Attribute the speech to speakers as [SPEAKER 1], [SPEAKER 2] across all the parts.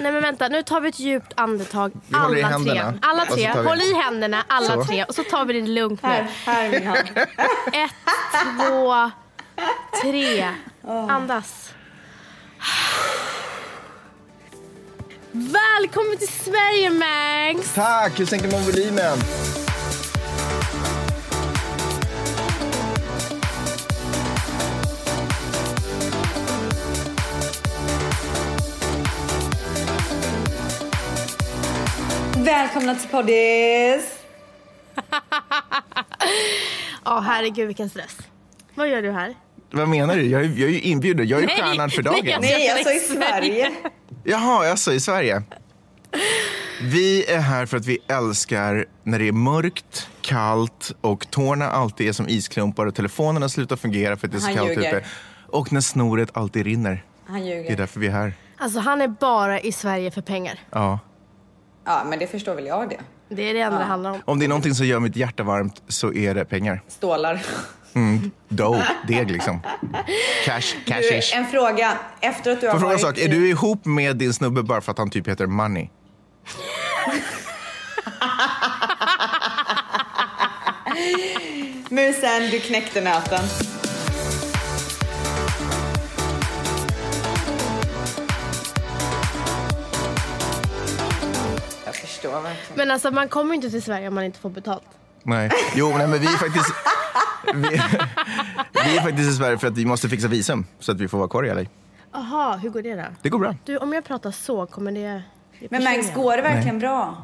[SPEAKER 1] Nej men vänta, nu tar vi ett djupt andetag.
[SPEAKER 2] Vi håller i
[SPEAKER 1] alla tre.
[SPEAKER 2] händerna.
[SPEAKER 1] Alla
[SPEAKER 2] Och så
[SPEAKER 1] tre.
[SPEAKER 2] tar vi-
[SPEAKER 1] Håll i händerna alla
[SPEAKER 2] Så.
[SPEAKER 1] tre och så tar vi det lugnt nu.
[SPEAKER 3] Här, här är min hand.
[SPEAKER 1] Ett, två, tre. Andas. Välkommen till Sverige Mangs!
[SPEAKER 2] Tack! Hur sänker man volymen?
[SPEAKER 3] Välkomna till poddis!
[SPEAKER 1] Ja herregud vilken stress. Vad gör du här?
[SPEAKER 2] Vad menar du? Jag är, jag är ju inbjuden. Jag är
[SPEAKER 1] Nej,
[SPEAKER 2] stjärnan för
[SPEAKER 1] nej,
[SPEAKER 2] dagen.
[SPEAKER 1] jag-
[SPEAKER 3] Nej,
[SPEAKER 1] Jag
[SPEAKER 3] jag sa alltså i
[SPEAKER 1] i
[SPEAKER 3] Sverige.
[SPEAKER 2] Jaha, alltså i Sverige. Vi är här för att vi älskar när det är mörkt, kallt och tårna alltid är som isklumpar och telefonerna slutar fungera för att det är så
[SPEAKER 3] Han
[SPEAKER 2] kallt
[SPEAKER 3] ljuger.
[SPEAKER 2] ute. Och när snoret alltid rinner.
[SPEAKER 3] Han
[SPEAKER 2] Det är
[SPEAKER 3] ljuger.
[SPEAKER 2] därför vi är här.
[SPEAKER 1] Alltså han är bara i Sverige för pengar.
[SPEAKER 2] Ja.
[SPEAKER 3] Ja, men det förstår väl jag det.
[SPEAKER 1] Det är det enda det handlar om.
[SPEAKER 2] Om det är någonting som gör mitt hjärta varmt så är det pengar.
[SPEAKER 3] Stålar.
[SPEAKER 2] Dough, deg liksom. Cash,
[SPEAKER 3] Du,
[SPEAKER 2] cashish.
[SPEAKER 3] en fråga. Efter att du har
[SPEAKER 2] Får jag fråga en sak?
[SPEAKER 3] varit...
[SPEAKER 2] Är du ihop med din snubbe bara för att han typ heter Money?
[SPEAKER 3] Musen, du knäckte nöten. Jag förstår verkligen.
[SPEAKER 1] Men alltså man kommer ju inte till Sverige om man inte får betalt.
[SPEAKER 2] Nej. Jo, nej, men vi är faktiskt... Vi, vi är faktiskt i Sverige för att vi måste fixa visum så att vi får vara kvar i LA.
[SPEAKER 1] Aha, hur går det då?
[SPEAKER 2] Det går bra.
[SPEAKER 1] Du, om jag pratar så kommer det... det
[SPEAKER 3] Men Mangs,
[SPEAKER 1] försvinner.
[SPEAKER 3] går det verkligen bra?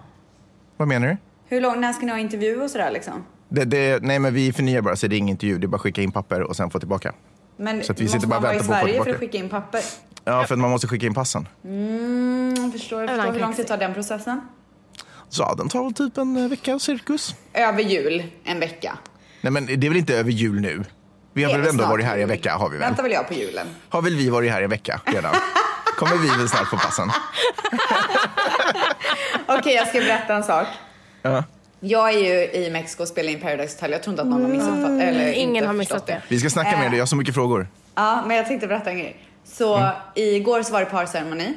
[SPEAKER 2] Vad menar du?
[SPEAKER 3] Hur lång, när ska ni ha intervju och sådär liksom?
[SPEAKER 2] Det, det, nej, men vi förnyar bara så det är ingen intervju. Det är bara att skicka in papper och sen få tillbaka.
[SPEAKER 3] Men
[SPEAKER 2] Så att vi
[SPEAKER 3] måste
[SPEAKER 2] sitter bara
[SPEAKER 3] man
[SPEAKER 2] och
[SPEAKER 3] vara
[SPEAKER 2] väntar på att
[SPEAKER 3] i
[SPEAKER 2] få
[SPEAKER 3] Sverige för
[SPEAKER 2] tillbaka.
[SPEAKER 3] att skicka in papper?
[SPEAKER 2] Ja, för att man måste skicka in passen.
[SPEAKER 3] Mm, jag förstår, jag förstår.
[SPEAKER 1] kan
[SPEAKER 3] Hur lång
[SPEAKER 1] inte
[SPEAKER 3] tid tar den processen?
[SPEAKER 2] Så ja, den tar väl typ en eh, vecka, cirkus.
[SPEAKER 3] Över jul, en vecka.
[SPEAKER 2] Nej, men det är väl inte över jul nu? Vi har
[SPEAKER 3] Det är
[SPEAKER 2] väl ändå
[SPEAKER 3] snart
[SPEAKER 2] varit här i en
[SPEAKER 3] jul.
[SPEAKER 2] vecka? Har vi väl?
[SPEAKER 3] Väntar väl jag på julen?
[SPEAKER 2] Har väl vi varit här i en vecka redan? Kommer vi väl snart få passen?
[SPEAKER 3] Okej, jag ska berätta en sak.
[SPEAKER 2] Ja.
[SPEAKER 3] Jag är ju i Mexiko och spelar in Paradise Hotel. Jag tror inte att någon har missuppfattat eller
[SPEAKER 1] Mm, ingen
[SPEAKER 3] inte
[SPEAKER 1] har missat
[SPEAKER 3] förstått
[SPEAKER 1] det.
[SPEAKER 2] Vi ska snacka med dig. Jag har så mycket frågor.
[SPEAKER 3] Ja, men jag tänkte berätta en grej. Så
[SPEAKER 1] Mm.
[SPEAKER 3] igår så var det parceremoni.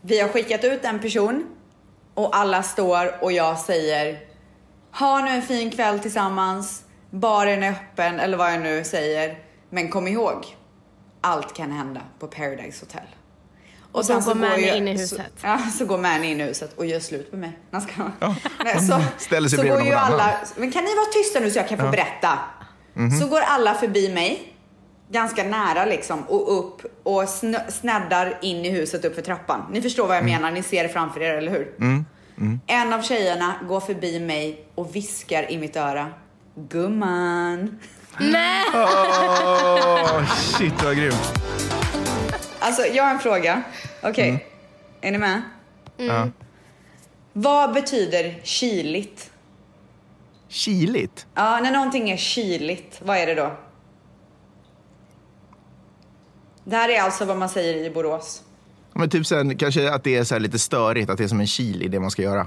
[SPEAKER 3] Vi har skickat ut en person och alla står och jag säger ha nu en fin kväll tillsammans, baren är öppen eller vad jag nu säger. Men kom ihåg, allt kan hända på Paradise Hotel. Och
[SPEAKER 1] då går Mani
[SPEAKER 3] ju-
[SPEAKER 1] in i huset.
[SPEAKER 3] Så, ja, så går Mani in i huset och gör slut med mig. Nej, ska jag-
[SPEAKER 2] Ja.
[SPEAKER 3] Nej, så,
[SPEAKER 2] Ställer sig
[SPEAKER 3] så
[SPEAKER 2] bredvid
[SPEAKER 3] går ju
[SPEAKER 2] någon annan.
[SPEAKER 3] alla, men kan ni vara tysta nu så jag kan få berätta?
[SPEAKER 2] Mhm.
[SPEAKER 3] Så går alla förbi mig, ganska nära liksom, och upp och snö, sneddar in i huset upp för trappan. Ni förstår vad jag
[SPEAKER 2] Mm.
[SPEAKER 3] menar, ni ser det framför er, eller hur? En av tjejerna går förbi mig och viskar i mitt öra. Gumman.
[SPEAKER 1] Nej!
[SPEAKER 2] Åh, shit vad grymt.
[SPEAKER 3] Alltså, jag har en fråga. Okej, är ni med?
[SPEAKER 2] Mm. Ja.
[SPEAKER 3] Vad betyder kyligt?
[SPEAKER 2] Kyligt?
[SPEAKER 3] Ja, när någonting är kyligt, vad är det då? Det här är alltså vad man säger i Borås.
[SPEAKER 2] Men typ sen, kanske att det är så här lite störigt, att det är som en kil i det man ska göra.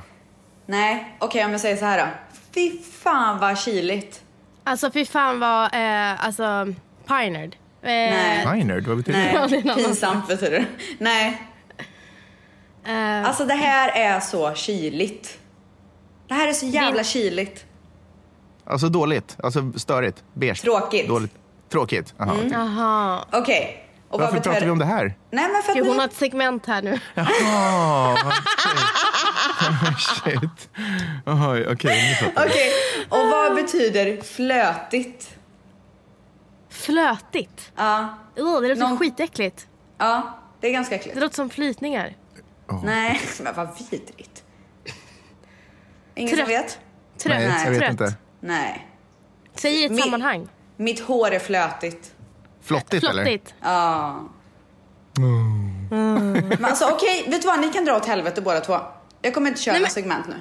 [SPEAKER 3] Nej, okej om jag säger så här då. Fy fan vad kyligt.
[SPEAKER 1] Alltså fy fan vad, eh, alltså, pinerd. Eh,
[SPEAKER 3] Nej.
[SPEAKER 2] Minerd, vad betyder det? typ-
[SPEAKER 1] Ja, det är en
[SPEAKER 3] Nej,
[SPEAKER 1] annan
[SPEAKER 3] pinsamt betyder det. Nej,
[SPEAKER 1] eh,
[SPEAKER 3] alltså det här är så kyligt. Det här är så jävla kyligt.
[SPEAKER 2] Alltså dåligt, alltså störigt, beige.
[SPEAKER 3] Tråkigt.
[SPEAKER 2] Dåligt. Tråkigt? Aha, okej.
[SPEAKER 1] Jaha.
[SPEAKER 3] Okej. Och
[SPEAKER 2] Varför pratar vi om det här?
[SPEAKER 3] Nej men för att
[SPEAKER 1] Gud, hon
[SPEAKER 3] ni-
[SPEAKER 1] har ett segment här nu.
[SPEAKER 2] Jaha, okej. Shit. Oj, Okej, nu fattar jag.
[SPEAKER 3] Okej, och
[SPEAKER 1] Ah.
[SPEAKER 3] vad betyder flötigt?
[SPEAKER 1] Flötigt.
[SPEAKER 3] Ja,
[SPEAKER 1] Åh, det låter
[SPEAKER 3] Någon-
[SPEAKER 1] skitäckligt.
[SPEAKER 3] ja, det är ganska äckligt.
[SPEAKER 1] Det låter som flytningar.
[SPEAKER 3] Nej, men vad vidrigt. Ingen
[SPEAKER 1] Trött.
[SPEAKER 3] som vet?
[SPEAKER 1] Trött.
[SPEAKER 2] Nej, jag vet
[SPEAKER 1] Trött.
[SPEAKER 2] inte.
[SPEAKER 3] Nej.
[SPEAKER 1] Säg i ett
[SPEAKER 3] Mi-
[SPEAKER 1] sammanhang.
[SPEAKER 3] Mitt hår är flötigt.
[SPEAKER 2] Flottigt, eller?
[SPEAKER 1] Flottigt.
[SPEAKER 3] Ja.
[SPEAKER 2] Mm.
[SPEAKER 3] Men alltså okej, vet du vad? Ni kan dra åt helvete båda två. Jag kommer inte köra
[SPEAKER 1] Nej, men-
[SPEAKER 3] något segment nu.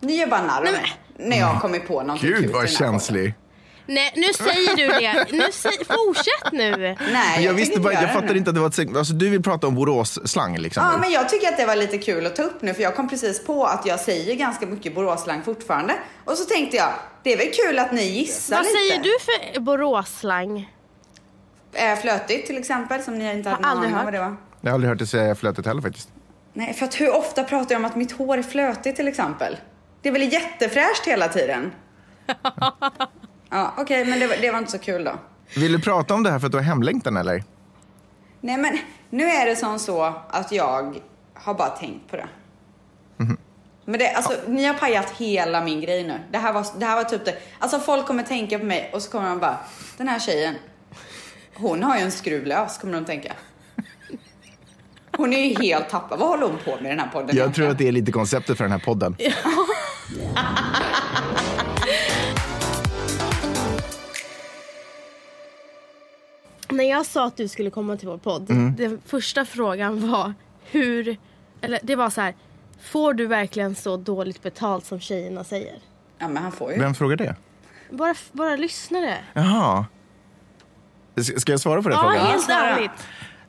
[SPEAKER 3] Ni gör bara narr av mig. När jag kommer på någonting kul
[SPEAKER 2] Gud,
[SPEAKER 3] i den
[SPEAKER 2] vad
[SPEAKER 3] här podden.
[SPEAKER 2] känslig.
[SPEAKER 1] Nej, nu säger du det. Nu säg... Fortsätt nu.
[SPEAKER 3] Nej,
[SPEAKER 2] Men jag
[SPEAKER 3] tänker
[SPEAKER 2] visste bara,
[SPEAKER 3] göra
[SPEAKER 2] jag
[SPEAKER 3] det
[SPEAKER 2] fattade
[SPEAKER 3] nu.
[SPEAKER 2] inte att det var ett segment. Alltså, du vill prata om Borås-slang liksom?
[SPEAKER 3] Ja,
[SPEAKER 2] nu.
[SPEAKER 3] men jag tycker att det var lite kul att ta upp nu för jag kom precis på att jag säger ganska mycket boråsslang fortfarande. Och så tänkte jag, det är väl kul att ni gissar
[SPEAKER 1] Vad
[SPEAKER 3] lite.
[SPEAKER 1] säger du för Boråsslang?
[SPEAKER 3] Eh, flötigt till exempel som ni inte hade
[SPEAKER 1] Har
[SPEAKER 3] någon
[SPEAKER 1] aldrig
[SPEAKER 3] aning
[SPEAKER 1] hört.
[SPEAKER 3] om vad det var.
[SPEAKER 2] Jag har aldrig hört dig säga flötet heller faktiskt.
[SPEAKER 3] Nej, för att hur ofta pratar jag om att mitt hår är flötigt till exempel? Det är väl jättefräscht hela tiden? ja, okej, men det var, det var inte så kul då.
[SPEAKER 2] Vill du prata om det här för att du har hemlängtan eller?
[SPEAKER 3] Nej, men nu är det som så att jag har bara tänkt på det.
[SPEAKER 2] Mhm.
[SPEAKER 3] Men det, alltså, ni har pajat hela min grej nu. Det här, var, det här var typ det. Alltså folk kommer tänka på mig och så kommer de bara, den här tjejen, hon har ju en skruv lös, kommer de tänka. Hon är ju helt tappad. Vad håller hon på med i den här podden
[SPEAKER 2] Jag tror
[SPEAKER 3] egentligen?
[SPEAKER 2] att det är lite konceptet för den här podden.
[SPEAKER 1] När jag sa att du skulle komma till vår podd,
[SPEAKER 2] Mm.
[SPEAKER 1] den första frågan var hur, eller det var så här, får du verkligen så dåligt betalt som tjejerna säger?
[SPEAKER 3] Ja, men han får ju.
[SPEAKER 2] Vem frågar det?
[SPEAKER 1] Bara, bara lyssnare.
[SPEAKER 2] Jaha. S- Ska jag svara på den
[SPEAKER 1] Ja,
[SPEAKER 2] frågan?
[SPEAKER 1] helt
[SPEAKER 3] Ja.
[SPEAKER 1] ärligt.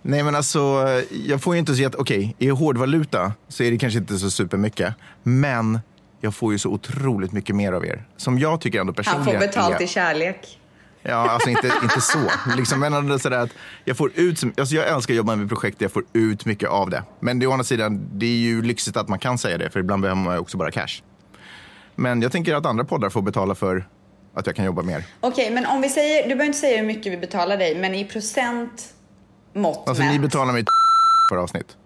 [SPEAKER 2] Nej men alltså, jag får ju inte så jätte... Okej, i hårdvaluta så är det kanske inte så supermycket. Men jag får ju så otroligt mycket mer av er. Som jag tycker ändå personligen
[SPEAKER 3] Han får
[SPEAKER 2] är...
[SPEAKER 3] betalt i kärlek.
[SPEAKER 2] Ja, alltså inte, inte så. Liksom, men ändå sådär att jag, får ut, som- alltså jag älskar att jobba med projekt där jag får ut mycket av det. Men det, är å andra sidan, det är ju lyxigt att man kan säga det, för ibland behöver man ju också bara cash. Men jag tänker att andra poddar får betala för att jag kan jobba mer.
[SPEAKER 3] Okej, men om vi säger, du behöver inte säga hur mycket vi betalar dig, men i procent mått
[SPEAKER 2] Alltså
[SPEAKER 3] mätt.
[SPEAKER 2] ni betalar mig för avsnitt.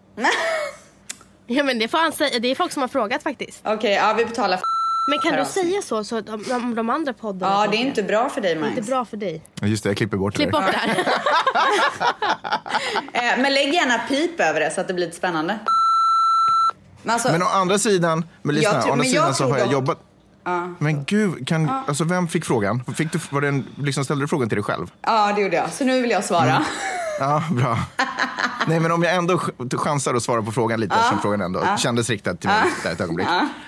[SPEAKER 1] Ja men det får han säga, det är folk som har frågat faktiskt.
[SPEAKER 3] Okej, ja vi betalar f-
[SPEAKER 1] Men kan
[SPEAKER 3] Per
[SPEAKER 1] du
[SPEAKER 3] Hansson.
[SPEAKER 1] säga så, så att de, de, de andra poddarna
[SPEAKER 3] Ja, det är
[SPEAKER 1] tänker?
[SPEAKER 3] inte bra för dig Majs.
[SPEAKER 1] inte bra för dig.
[SPEAKER 2] Just det, jag klipper bort
[SPEAKER 1] Klipp
[SPEAKER 2] det
[SPEAKER 1] bort
[SPEAKER 2] där.
[SPEAKER 1] det här.
[SPEAKER 3] Eh, men lägg gärna pip över det så att det blir lite spännande. Men alltså,
[SPEAKER 2] Men å andra sidan, men lyssna,
[SPEAKER 3] Jag tror-
[SPEAKER 2] å andra
[SPEAKER 3] men jag
[SPEAKER 2] sidan så
[SPEAKER 3] tror
[SPEAKER 2] har jag
[SPEAKER 3] de-
[SPEAKER 2] jobbat... Men gud, kan, alltså, vem fick frågan? Fick du, var det en, liksom, ställde du frågan till dig själv?
[SPEAKER 3] ja det gjorde jag. Så nu vill jag svara.
[SPEAKER 2] Mm. Ja, bra. Nej, men om jag ändå ch- chansar att svara på frågan lite, eftersom frågan ändå kändes riktad till mig där ett ögonblick.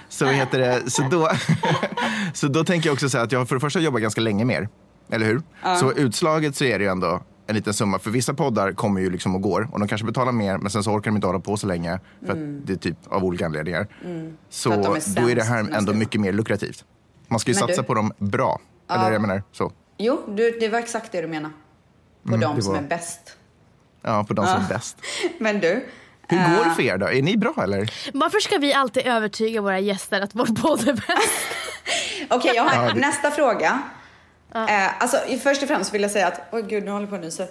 [SPEAKER 2] Så, heter det, så, då, så då tänker jag också säga att jag har för det första jobbat ganska länge mer, eller hur? Så utslaget så är det ju ändå en liten summa, för vissa poddar kommer ju liksom och går och de kanske betalar mer, men sen så orkar de inte hålla på så länge för att det är typ av olika anledningar. Så
[SPEAKER 3] Mm. För att de är
[SPEAKER 2] då är det
[SPEAKER 3] sämst
[SPEAKER 2] här ändå
[SPEAKER 3] nästan.
[SPEAKER 2] mycket mer lukrativt. Man ska ju
[SPEAKER 3] Men
[SPEAKER 2] satsa
[SPEAKER 3] du-
[SPEAKER 2] på dem bra, eller jag menar så.
[SPEAKER 3] Jo, du, det var exakt det du menade. På de
[SPEAKER 2] Mm, det
[SPEAKER 3] som
[SPEAKER 2] var-
[SPEAKER 3] är bäst.
[SPEAKER 2] Ja, på de som är bäst.
[SPEAKER 3] Men du.
[SPEAKER 2] Hur
[SPEAKER 3] eh,
[SPEAKER 2] går det för er då? Är ni bra eller?
[SPEAKER 1] Varför ska vi alltid övertyga våra gäster att vår podd är bäst?
[SPEAKER 3] Okej, jag har
[SPEAKER 2] Ja, det-
[SPEAKER 3] nästa fråga. Eh, alltså, i- först och främst vill jag säga att, oj gud, nu håller jag på nu så.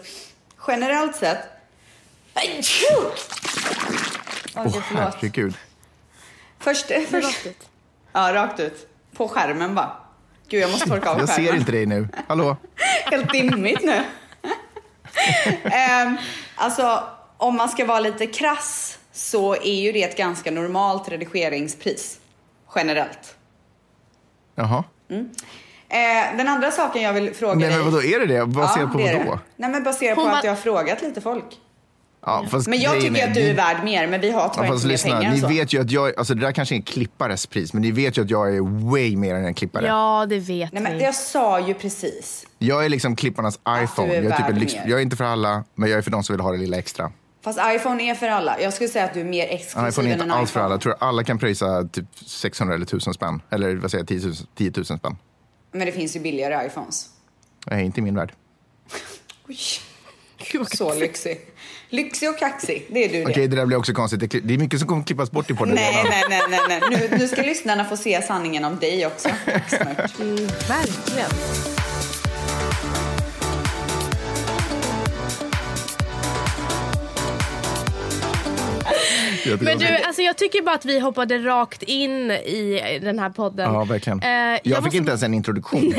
[SPEAKER 3] Generellt sett. Aj, tju! Oj,
[SPEAKER 2] Åh
[SPEAKER 3] gud, förlåt.
[SPEAKER 2] herregud.
[SPEAKER 3] Först, först,
[SPEAKER 1] ut.
[SPEAKER 3] ja, rakt ut. På skärmen bara. Gud, jag måste torka av
[SPEAKER 2] Jag
[SPEAKER 3] skärmen.
[SPEAKER 2] ser inte dig nu. Hallå?
[SPEAKER 3] Helt dimmigt nu. Ehm, alltså, om man ska vara lite krass så är ju det ett ganska normalt redigeringspris. Generellt.
[SPEAKER 2] Jaha.
[SPEAKER 3] Eh, den andra saken jag vill fråga
[SPEAKER 2] Nej
[SPEAKER 3] dig.
[SPEAKER 2] men vadå, är det det? Baserat
[SPEAKER 3] Ja,
[SPEAKER 2] på
[SPEAKER 3] det är
[SPEAKER 2] vad
[SPEAKER 3] det.
[SPEAKER 2] då?
[SPEAKER 3] Nej men baserat
[SPEAKER 1] Hon
[SPEAKER 3] på
[SPEAKER 1] bara-
[SPEAKER 3] att jag har frågat lite folk.
[SPEAKER 2] Ja, fast
[SPEAKER 3] Men jag
[SPEAKER 2] grejen
[SPEAKER 3] tycker
[SPEAKER 2] är-
[SPEAKER 3] att du är
[SPEAKER 2] ni-
[SPEAKER 3] värd mer, men vi har tyvärr
[SPEAKER 2] Ja, fast
[SPEAKER 3] inte mer
[SPEAKER 2] lyssna,
[SPEAKER 3] pengar än
[SPEAKER 2] ni
[SPEAKER 3] så.
[SPEAKER 2] vet ju att jag, alltså det där kanske är en klippares pris, men ni vet ju att jag är way mer än en klippare.
[SPEAKER 1] Ja det vet
[SPEAKER 3] Nej men
[SPEAKER 1] vi.
[SPEAKER 3] jag sa ju precis.
[SPEAKER 2] Jag är liksom klipparnas iPhone.
[SPEAKER 3] är
[SPEAKER 2] Jag är, typ en
[SPEAKER 3] värd
[SPEAKER 2] lyx,
[SPEAKER 3] mer.
[SPEAKER 2] jag är inte för alla, men jag är för de som vill ha det lilla extra.
[SPEAKER 3] Fast iPhone är för alla. Jag skulle säga att du är mer exklusiv
[SPEAKER 2] iPhone är
[SPEAKER 3] än en
[SPEAKER 2] inte alls för alla. Jag tror att alla kan pröjsa typ 600 eller 1000 spänn. Eller vad säger jag, 10 000, 10 000 spänn.
[SPEAKER 3] Men det finns ju billigare iPhones.
[SPEAKER 2] Nej, inte i min värld.
[SPEAKER 3] Oj. Så lyxig. Lyxig och kaxig, det är du det.
[SPEAKER 2] Okej, det där blir också konstigt. Det kli- Det är mycket som kommer klippas bort i podden
[SPEAKER 3] Nej,
[SPEAKER 2] redan.
[SPEAKER 3] nej, nej, nej, nej. Nu, nu ska lyssnarna få se sanningen om dig också. Snart.
[SPEAKER 1] Mm, verkligen.
[SPEAKER 2] Jag tycker
[SPEAKER 1] Men
[SPEAKER 2] det är
[SPEAKER 1] du, alltså jag tycker bara att vi hoppade rakt in i den här podden.
[SPEAKER 2] Ja, verkligen.
[SPEAKER 1] Eh,
[SPEAKER 2] jag fick
[SPEAKER 1] jag måste-
[SPEAKER 2] inte ens en introduktion.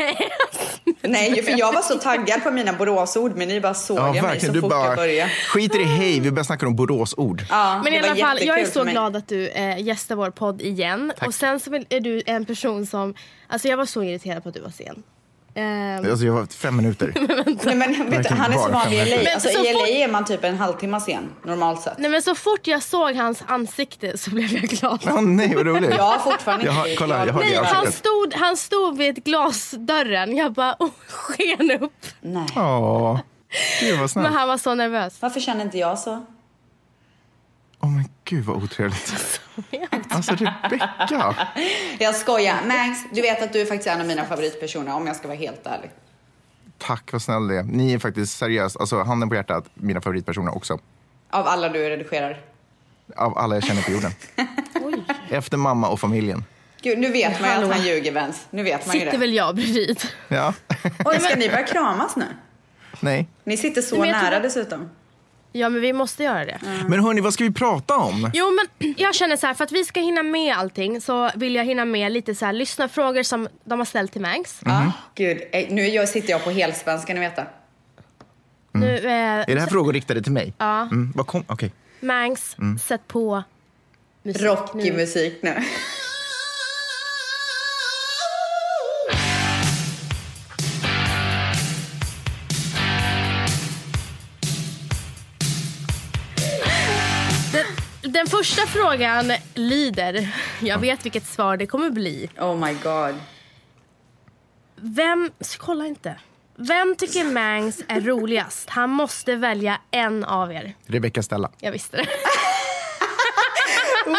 [SPEAKER 3] Nej, för jag var så taggad på mina Boråsord, men ni bara såg
[SPEAKER 2] Ja,
[SPEAKER 3] mig så
[SPEAKER 2] verkligen. Du
[SPEAKER 3] fort jag
[SPEAKER 2] bara
[SPEAKER 3] började.
[SPEAKER 2] skiter i hej, vi börjar snacka om Boråsord.
[SPEAKER 3] Ja,
[SPEAKER 1] Men i
[SPEAKER 3] det var
[SPEAKER 1] alla fall, jag är
[SPEAKER 3] jättekul
[SPEAKER 1] så
[SPEAKER 3] för mig.
[SPEAKER 1] glad att du eh, gästar vår podd igen. Och sen så vill- är du en person som, alltså jag var så irriterad på att du var sen. Ehm,
[SPEAKER 2] Alltså, jag var fem minuter.
[SPEAKER 3] Nej, men, vet du, han är så
[SPEAKER 2] Verkligen bara
[SPEAKER 3] vanlig i
[SPEAKER 2] fem
[SPEAKER 3] LA.
[SPEAKER 1] minuter.
[SPEAKER 3] Alltså,
[SPEAKER 1] Men så
[SPEAKER 3] I LA
[SPEAKER 1] fort-
[SPEAKER 3] är man typ en halvtimme sen, normalt sett.
[SPEAKER 1] Nej men så fort jag såg hans ansikte så blev jag glad.
[SPEAKER 2] Åh nej, vad roligt.
[SPEAKER 3] Jag har fortfarande
[SPEAKER 2] Jag har-
[SPEAKER 3] blivit
[SPEAKER 2] kolla,
[SPEAKER 3] glad.
[SPEAKER 2] jag har det
[SPEAKER 1] Nej,
[SPEAKER 2] i
[SPEAKER 1] han,
[SPEAKER 2] ansiktet.
[SPEAKER 1] stod, han stod vid glasdörren. Jag bara, oh, sken upp.
[SPEAKER 3] Nej.
[SPEAKER 2] Ja. Gud, vad
[SPEAKER 1] Men
[SPEAKER 2] snällt.
[SPEAKER 1] han var så nervös.
[SPEAKER 3] Varför känner inte jag så?
[SPEAKER 2] Åh, men gud, vad otrevligt. Alltså, Rebecka.
[SPEAKER 3] Jag skojar. Max, du vet att du är faktiskt en av mina favoritpersoner, om jag ska vara helt ärlig.
[SPEAKER 2] Tack, vad snäll det är. Ni är faktiskt seriöst, alltså handen på hjärtat, mina favoritpersoner också.
[SPEAKER 3] Av alla du redigerar.
[SPEAKER 2] Av alla jag känner på jorden.
[SPEAKER 1] Oj.
[SPEAKER 2] Efter mamma och familjen.
[SPEAKER 3] Gud, nu vet man ju att
[SPEAKER 1] Hallå.
[SPEAKER 3] han ljuger Vens. Nu vet man ju
[SPEAKER 1] Sitter
[SPEAKER 3] det.
[SPEAKER 1] väl jag bredvid.
[SPEAKER 2] Ja.
[SPEAKER 3] Oj, ska ni börja kramas nu?
[SPEAKER 2] Nej.
[SPEAKER 3] Ni sitter så
[SPEAKER 1] Men jag tror
[SPEAKER 3] nära
[SPEAKER 1] att-
[SPEAKER 3] dessutom.
[SPEAKER 1] Ja men vi måste göra det.
[SPEAKER 3] Mm.
[SPEAKER 2] Men hörni, vad ska vi prata om?
[SPEAKER 1] Jo men jag känner så här för att vi ska hinna med allting så vill jag hinna med lite så här lyssnarfrågor som de har ställt till Mangs.
[SPEAKER 2] Mhm.
[SPEAKER 3] Ah, gud, eh, nu är jag- sitter jag på helspänn ska ni veta. Mm.
[SPEAKER 1] Nu, eh,
[SPEAKER 2] Är det här frågor riktade till mig?
[SPEAKER 1] Ja.
[SPEAKER 2] Mm, vad kom? Okej.
[SPEAKER 1] Mangs, sätt på musik
[SPEAKER 3] Rockig
[SPEAKER 1] nu.
[SPEAKER 3] musik nu.
[SPEAKER 1] Den första frågan lyder, jag vet vilket svar det kommer bli.
[SPEAKER 3] Oh my god.
[SPEAKER 1] Vem, kolla inte. Vem tycker Mangs är roligast? Han måste välja en av er.
[SPEAKER 2] Rebecca Stella.
[SPEAKER 1] Jag visste det.
[SPEAKER 3] Wow!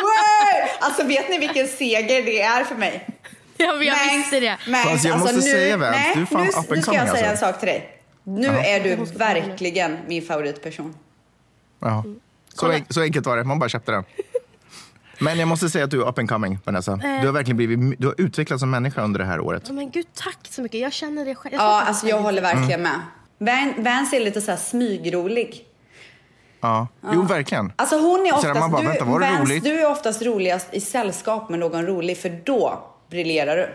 [SPEAKER 3] Alltså vet ni vilken seger det är för mig?
[SPEAKER 1] Ja, men jag visste det.
[SPEAKER 3] Mangs, alltså,
[SPEAKER 2] Fast jag måste säga, Vens,
[SPEAKER 3] nej,
[SPEAKER 2] du är fan
[SPEAKER 3] nu,
[SPEAKER 2] up and
[SPEAKER 3] nu ska
[SPEAKER 2] coming,
[SPEAKER 3] jag säga en
[SPEAKER 2] alltså.
[SPEAKER 3] sak till dig. Nu är du verkligen min favoritperson.
[SPEAKER 2] Ja. Så, en, så enkelt var det, man bara köpte den. Men jag måste säga att du är up and coming, Vanessa. Du har verkligen blivit, du har utvecklats som människa under det här året.
[SPEAKER 1] Ja, Men gud, tack så mycket. Jag känner det själv. tror
[SPEAKER 3] Ja,
[SPEAKER 1] inte
[SPEAKER 3] alltså
[SPEAKER 1] att
[SPEAKER 3] jag håller verkligen med. Van- Vans är lite så här smygrolig.
[SPEAKER 2] Ja. Jo, verkligen.
[SPEAKER 3] Alltså hon är
[SPEAKER 2] Så
[SPEAKER 3] oftast,
[SPEAKER 2] man bara,
[SPEAKER 3] du,
[SPEAKER 2] vänta, var det
[SPEAKER 3] Vans,
[SPEAKER 2] roligt?
[SPEAKER 3] du är oftast roligast i sällskap med någon rolig för då briljerar du.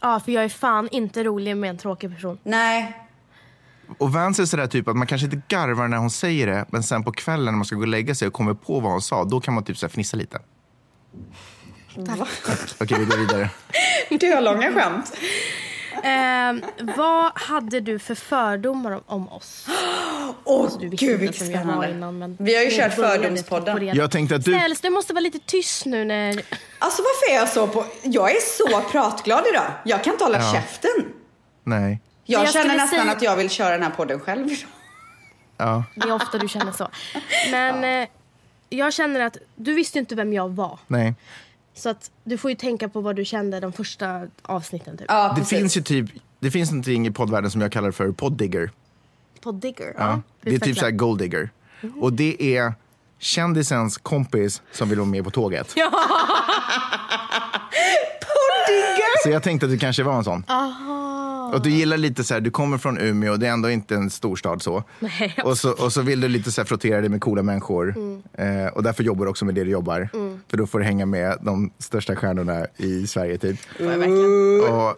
[SPEAKER 1] Ja, för jag är fan inte rolig med en tråkig person.
[SPEAKER 3] Nej,
[SPEAKER 2] Och Vance är sådär typ att man kanske inte garvar när hon säger det, men sen på kvällen när man ska gå och lägga sig och kommer på vad hon sa, då kan man typ så här fnissa lite. Okej, vi går vidare.
[SPEAKER 3] du har långa skämt.
[SPEAKER 1] Ehm, vad hade du för fördomar om, om oss?
[SPEAKER 3] Åh
[SPEAKER 1] Alltså, Du visste
[SPEAKER 3] gud
[SPEAKER 1] inte
[SPEAKER 3] vilket
[SPEAKER 1] vem jag var
[SPEAKER 3] spännande.
[SPEAKER 1] innan, men
[SPEAKER 3] Vi har ju
[SPEAKER 1] det
[SPEAKER 3] kört
[SPEAKER 1] började på
[SPEAKER 3] Fördomspodden.
[SPEAKER 1] reda.
[SPEAKER 2] Jag tänkte att du...
[SPEAKER 1] Ställs, du måste vara lite tyst nu när...
[SPEAKER 3] Alltså varför är jag så på... Jag är så pratglad idag. Jag kan inte hålla
[SPEAKER 2] Ja.
[SPEAKER 3] käften.
[SPEAKER 2] Nej.
[SPEAKER 3] Jag,
[SPEAKER 1] Men jag
[SPEAKER 3] känner
[SPEAKER 1] skulle
[SPEAKER 3] nästan
[SPEAKER 1] säga-
[SPEAKER 3] att jag vill köra den här podden själv idag.
[SPEAKER 2] Ja.
[SPEAKER 1] Det är ofta du känner så. Men eh, jag känner att du visste ju inte vem jag var.
[SPEAKER 2] Nej.
[SPEAKER 1] Så att du får ju tänka på vad du kände de första avsnitten typ.
[SPEAKER 3] Ja,
[SPEAKER 2] Det
[SPEAKER 3] precis.
[SPEAKER 2] finns ju typ... Det finns någonting i poddvärlden som jag kallar för poddigger.
[SPEAKER 1] På Digger.
[SPEAKER 2] Ja. Det är typ
[SPEAKER 1] utveckla.
[SPEAKER 2] så här golddigger. Och det är kändisens kompis som vill vara med på tåget. Så jag tänkte att du kanske var en sån. Och du gillar lite så här, du kommer från Umeå, det är ändå inte en storstad så.
[SPEAKER 1] Nej.
[SPEAKER 2] Och så, och så vill du lite så här frottera dig med coola människor.
[SPEAKER 1] Mm.
[SPEAKER 2] Eh, och därför jobbar du också med det du jobbar. För då får du hänga med de största stjärnorna i Sverige typ. Och,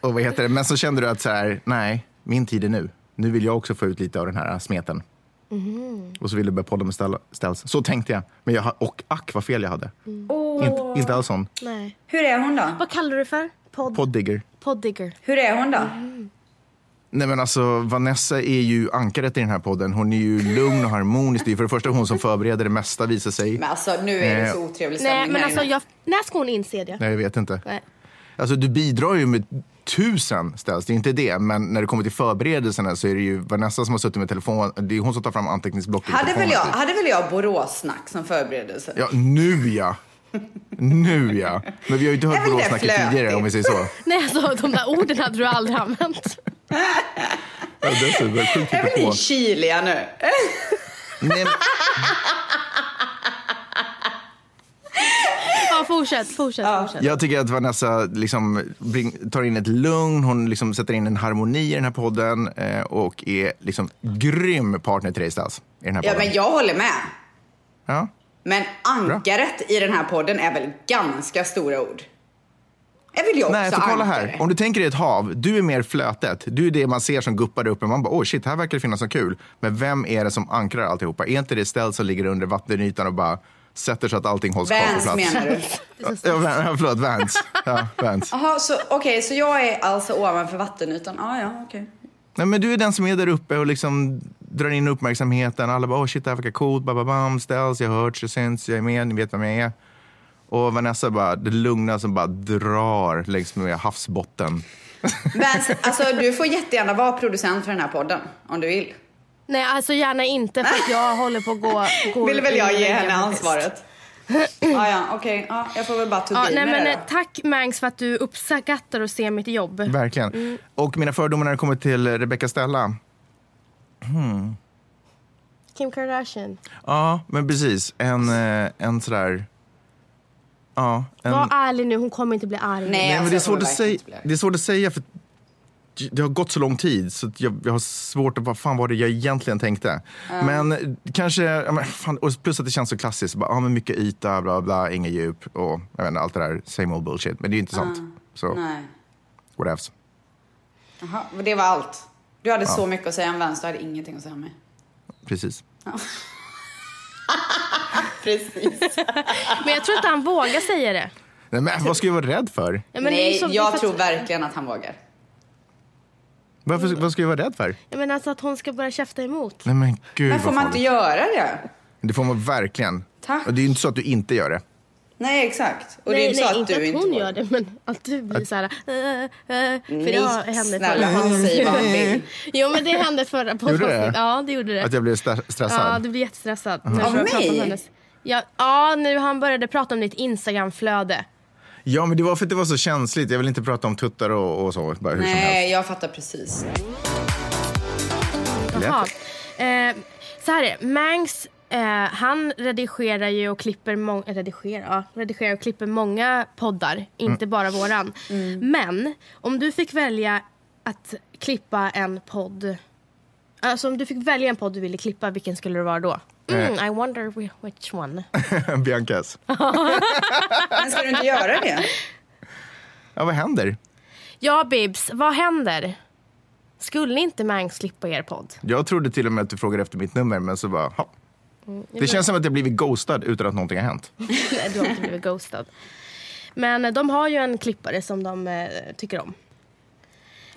[SPEAKER 2] och vad heter det, men så kände du att så här, nej, min tid är nu. Nu vill jag också få ut lite av den här smeten.
[SPEAKER 3] Mm-hmm.
[SPEAKER 2] Och så ville du börja podda med Stella- Ställs. Så tänkte jag. Men jag, ha- och ack vad fel jag hade.
[SPEAKER 3] Mm.
[SPEAKER 2] Inte, inte alls sån.
[SPEAKER 1] Nej.
[SPEAKER 3] Hur är hon då?
[SPEAKER 1] Vad kallar du det för? Pod,
[SPEAKER 2] Poddigger.
[SPEAKER 1] poddigger.
[SPEAKER 3] Hur är hon då?
[SPEAKER 1] Mm.
[SPEAKER 2] Nej men alltså Vanessa är ju ankaret i den här podden. Hon är ju lugn och harmonisk. Det är för det första hon som förbereder det mesta visar sig.
[SPEAKER 3] Men alltså nu är det
[SPEAKER 2] Eh,
[SPEAKER 3] så otrevlig stämning
[SPEAKER 1] Nej men
[SPEAKER 3] här
[SPEAKER 1] alltså
[SPEAKER 3] inne.
[SPEAKER 1] jag, när ska hon inse det?
[SPEAKER 2] Nej jag vet inte.
[SPEAKER 1] Nej.
[SPEAKER 2] Alltså du bidrar ju med tusen ställs, det är inte det. Men när det kommer till förberedelserna så är det ju Vanessa som har suttit med telefon. Det är hon som tar fram anteckningsblocket. i
[SPEAKER 3] Hade väl
[SPEAKER 2] telefonen.
[SPEAKER 3] jag, hade väl jag Boråssnack som förberedelse?
[SPEAKER 2] Ja, nu ja. Nu ja. Men vi har ju inte
[SPEAKER 3] Jag
[SPEAKER 2] hört
[SPEAKER 3] vill inte
[SPEAKER 2] Boråssnacket
[SPEAKER 3] flötigt.
[SPEAKER 2] tidigare om vi säger så.
[SPEAKER 1] Nej alltså de där orden hade du aldrig använt.
[SPEAKER 2] Ja, dessutom, sjukt
[SPEAKER 3] Är väl
[SPEAKER 2] på.
[SPEAKER 3] ni kyliga nu?
[SPEAKER 2] Nej, men-
[SPEAKER 1] Ja fortsätt, fortsätt, fortsätt.
[SPEAKER 2] Jag tycker att Vanessa liksom bring, tar in ett lugn, hon liksom sätter in en harmoni i den här podden eh, och är liksom grym partner till dig Stas, i den här
[SPEAKER 3] Ja
[SPEAKER 2] podden.
[SPEAKER 3] men jag håller med.
[SPEAKER 2] Ja.
[SPEAKER 3] Men ankaret i den här podden är väl ganska stora ord? Är väl jag
[SPEAKER 2] Nej,
[SPEAKER 3] också
[SPEAKER 2] för kolla
[SPEAKER 3] ankare?
[SPEAKER 2] här. Om du tänker dig ett hav, du är mer flötet. Du är det man ser som guppar upp och man bara, åh shit, här verkar det finnas något kul. Men vem är det som ankrar alltihopa? Är inte det ställ som ligger under vattenytan och bara sätter så att allting hålls kvar på
[SPEAKER 3] Vans
[SPEAKER 2] plats?
[SPEAKER 3] menar du?
[SPEAKER 2] Ja, Van- ja, förlåt, Vans. Ja, Vans.
[SPEAKER 3] Jaha, så okej, så jag är alltså ovanför vattenytan? Ah, ja, okej.
[SPEAKER 2] Nej, men du är den som är där uppe och liksom drar in uppmärksamheten. Alla bara, oh shit, det här verkar coolt, ba, ba, bam, ställs, jag hörts, jag syns, jag är med, ni vet vem jag är. Och Vanessa bara, det lugna som bara drar längs med havsbotten.
[SPEAKER 3] Vans, alltså du får jättegärna vara producent för den här podden om du vill.
[SPEAKER 1] Nej alltså gärna inte för att jag håller på att gå... gå
[SPEAKER 3] Vill väl jag
[SPEAKER 1] ur
[SPEAKER 3] ge
[SPEAKER 1] väggen
[SPEAKER 3] henne
[SPEAKER 1] faktiskt.
[SPEAKER 3] ansvaret? ah, ja, okej. Ja, jag får väl bara to
[SPEAKER 1] Ja,
[SPEAKER 3] deal
[SPEAKER 1] nej,
[SPEAKER 3] med
[SPEAKER 1] men,
[SPEAKER 3] det
[SPEAKER 1] eh, tack Mangs för att du uppskattar och ser mitt jobb.
[SPEAKER 2] Verkligen. Och mina fördomar när det kommer till Rebecca Stella. Hmm.
[SPEAKER 1] Kim Kardashian.
[SPEAKER 2] Ja, men precis. En, eh, en sådär... Ja, en...
[SPEAKER 1] Var ärlig nu, hon kommer inte bli arg.
[SPEAKER 3] Nej.
[SPEAKER 2] Nej, men
[SPEAKER 3] alltså,
[SPEAKER 2] det, är
[SPEAKER 3] jag
[SPEAKER 2] svårt
[SPEAKER 3] kommer
[SPEAKER 2] att säga,
[SPEAKER 3] verkligen inte bli
[SPEAKER 2] det är svårt att säga för det har gått så lång tid så att jag, jag har svårt att vad fan var det jag egentligen tänkte. Men eh, kanske, ja, men fan, och plus att det känns så klassiskt. Bara, ja, men mycket yta, bla bla, inget djup och jag vet inte, allt det där same old bullshit. Men det är ju inte sant. Så
[SPEAKER 3] Nej.
[SPEAKER 2] whatevs.
[SPEAKER 3] Jaha, men det var allt. Du hade så mycket att säga om Vans, du hade ingenting att säga om mig.
[SPEAKER 2] Precis.
[SPEAKER 3] Precis.
[SPEAKER 1] Men jag tror att han vågar säga det.
[SPEAKER 2] Nej, men vad ska jag vara rädd för?
[SPEAKER 1] Ja, men det är
[SPEAKER 3] Nej,
[SPEAKER 1] ju som- för
[SPEAKER 3] jag
[SPEAKER 1] att-
[SPEAKER 3] tror verkligen att han vågar.
[SPEAKER 2] Varför, vad ska jag vara rädd för?
[SPEAKER 1] Jag menar alltså att hon ska börja käfta emot.
[SPEAKER 2] Nej men gud
[SPEAKER 3] Men får
[SPEAKER 2] vad
[SPEAKER 3] man inte
[SPEAKER 2] farligt.
[SPEAKER 3] göra det?
[SPEAKER 2] Det får man verkligen.
[SPEAKER 3] Tack.
[SPEAKER 2] Och det är ju inte så att du inte gör det.
[SPEAKER 3] Nej, exakt. Och det är
[SPEAKER 1] nej,
[SPEAKER 3] inte så
[SPEAKER 1] nej,
[SPEAKER 3] att
[SPEAKER 1] inte
[SPEAKER 3] du
[SPEAKER 1] att
[SPEAKER 3] inte
[SPEAKER 1] hon
[SPEAKER 3] vågar.
[SPEAKER 1] gör det, men att du blir så här... eh, eh, för
[SPEAKER 3] Nej,
[SPEAKER 1] det har hände i
[SPEAKER 3] snälla,
[SPEAKER 1] förra
[SPEAKER 3] han säger vad han vill.
[SPEAKER 2] Nej.
[SPEAKER 1] Jo, men det hände förra
[SPEAKER 2] Gjorde det?
[SPEAKER 1] poddavsnittet. Ja, det gjorde det.
[SPEAKER 2] Att jag blev sta- stressad.
[SPEAKER 1] Ja, du blev jättestressad. när du
[SPEAKER 3] Av
[SPEAKER 1] började prata om
[SPEAKER 3] mig?
[SPEAKER 1] hennes- Ja, ja, nu han började prata om ditt Instagramflöde.
[SPEAKER 2] Ja, men det var för att det var så känsligt. Jag vill inte prata om tuttar och, och så. Bara hur som helst.
[SPEAKER 3] Nej, jag fattar precis.
[SPEAKER 1] Jaha. Eh, så här är det. Mangs, eh, han redigerar ju och klipper, mång- eh, redigerar, ja, redigerar och klipper många poddar, inte bara våran. Men om du fick välja att klippa en podd Alltså om du fick välja en podd du ville klippa, vilken skulle det vara då? Mm, I wonder whi- which one.
[SPEAKER 2] Biancas.
[SPEAKER 3] Men ska du inte göra det?
[SPEAKER 2] Ja, vad händer?
[SPEAKER 1] Ja, Bibs, vad händer? Skulle inte Mangs klippa er podd?
[SPEAKER 2] Jag trodde till och med att du frågade efter mitt nummer, men så bara, ha.
[SPEAKER 1] Mm,
[SPEAKER 2] Det känns som att jag blivit ghostad utan att någonting har hänt.
[SPEAKER 1] Nej, du har inte blivit ghostad. Men eh, de har ju en klippare som de eh, tycker om.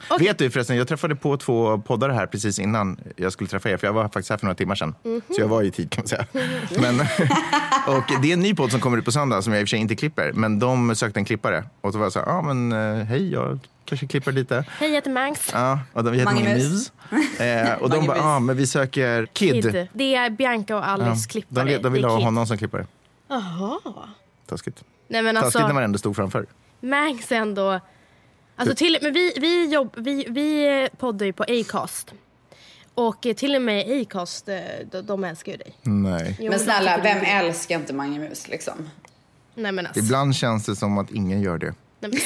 [SPEAKER 1] Okej.
[SPEAKER 2] Vet du förresten, jag träffade på två poddare här precis innan jag skulle träffa er, för jag var faktiskt här för några timmar sedan.
[SPEAKER 1] Mhm.
[SPEAKER 2] Så jag var i tid kan man säga. Men, och det är en ny podd som kommer ut på söndag som jag i och för sig inte klipper, men de sökte en klippare. Och då var jag så här, ja ah, men eh, hej, jag kanske klipper lite.
[SPEAKER 1] Hej, jag heter Mangs.
[SPEAKER 2] Ja, och de heter
[SPEAKER 3] Mange
[SPEAKER 2] Mange
[SPEAKER 3] Mus.
[SPEAKER 2] Mus. Eh, och de
[SPEAKER 3] Mange
[SPEAKER 2] bara,
[SPEAKER 3] Mus.
[SPEAKER 2] ja ah, men vi söker Kid.
[SPEAKER 1] Kid. Det är Bianca och
[SPEAKER 2] Ja,
[SPEAKER 1] Alice klippare.
[SPEAKER 2] De, de ville
[SPEAKER 1] Det är
[SPEAKER 2] ha
[SPEAKER 1] Kid.
[SPEAKER 2] honom som klippare.
[SPEAKER 1] Jaha.
[SPEAKER 2] Taskigt.
[SPEAKER 1] Nej men
[SPEAKER 2] Taskigt när
[SPEAKER 1] alltså,
[SPEAKER 2] man ändå stod framför.
[SPEAKER 1] Mangs är ändå... Alltså till, men vi, vi, jobb, vi, vi eh, poddar ju på Acast. Och eh, till och med Acast, eh, de, de älskar ju dig.
[SPEAKER 2] Nej.
[SPEAKER 1] Jo,
[SPEAKER 3] Men
[SPEAKER 1] de
[SPEAKER 3] snälla,
[SPEAKER 1] tycker du-
[SPEAKER 3] vem älskar inte Mange Mus liksom?
[SPEAKER 1] Nej men alltså.
[SPEAKER 2] Ibland känns det som att ingen gör det.
[SPEAKER 1] Nej, men,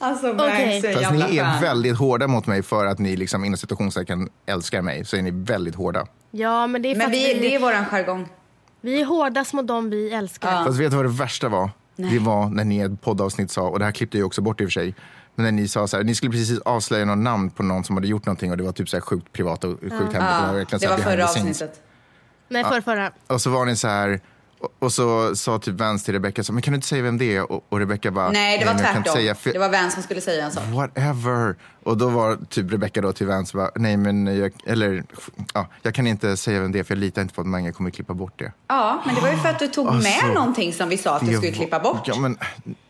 [SPEAKER 3] Alltså
[SPEAKER 1] Okej.
[SPEAKER 3] Mangs är
[SPEAKER 2] Fast
[SPEAKER 3] jävla
[SPEAKER 2] ni är
[SPEAKER 3] fan.
[SPEAKER 2] väldigt hårda mot mig för att ni liksom inom citationstecken älskar mig. Så är ni väldigt hårda.
[SPEAKER 1] ja men det är för
[SPEAKER 3] Men
[SPEAKER 1] att
[SPEAKER 3] vi,
[SPEAKER 1] vi,
[SPEAKER 3] det är våran jargong.
[SPEAKER 1] vi är hårdast mot dem vi älskar.
[SPEAKER 2] Fast vet du vad det värsta var? Det var när ni i ett poddavsnitt sa, och det här klippte jag ju också bort i och för sig. Men när ni sa så här, ni skulle precis avslöja något namn på någon som hade gjort någonting och det var typ så här sjukt privat och sjukt hemligt. och
[SPEAKER 3] Ja,
[SPEAKER 2] verkligen så
[SPEAKER 3] det
[SPEAKER 2] här behind
[SPEAKER 3] var förra
[SPEAKER 2] the scenes.
[SPEAKER 3] avsnittet.
[SPEAKER 1] Nej förra, förra.
[SPEAKER 2] Och så var ni så här, och- och så sa typ Vans till Rebecca, så, men kan du inte säga vem det är? Och, och Rebecca bara,
[SPEAKER 3] Nej, det var
[SPEAKER 2] men jag kan inte
[SPEAKER 3] tvärtom.
[SPEAKER 2] säga, för-
[SPEAKER 3] Det var vem som skulle säga en sak.
[SPEAKER 2] whatever. Och då var typ Rebecca då till Vans bara, nej men jag, eller, ja, jag kan inte säga vem det är för jag litar inte på att Mange kommer klippa bort det.
[SPEAKER 3] Ja, men det var ju för att du tog
[SPEAKER 2] Alltså,
[SPEAKER 3] med någonting som vi sa att du
[SPEAKER 2] Det
[SPEAKER 3] skulle
[SPEAKER 2] var-
[SPEAKER 3] klippa bort.
[SPEAKER 2] Ja, men,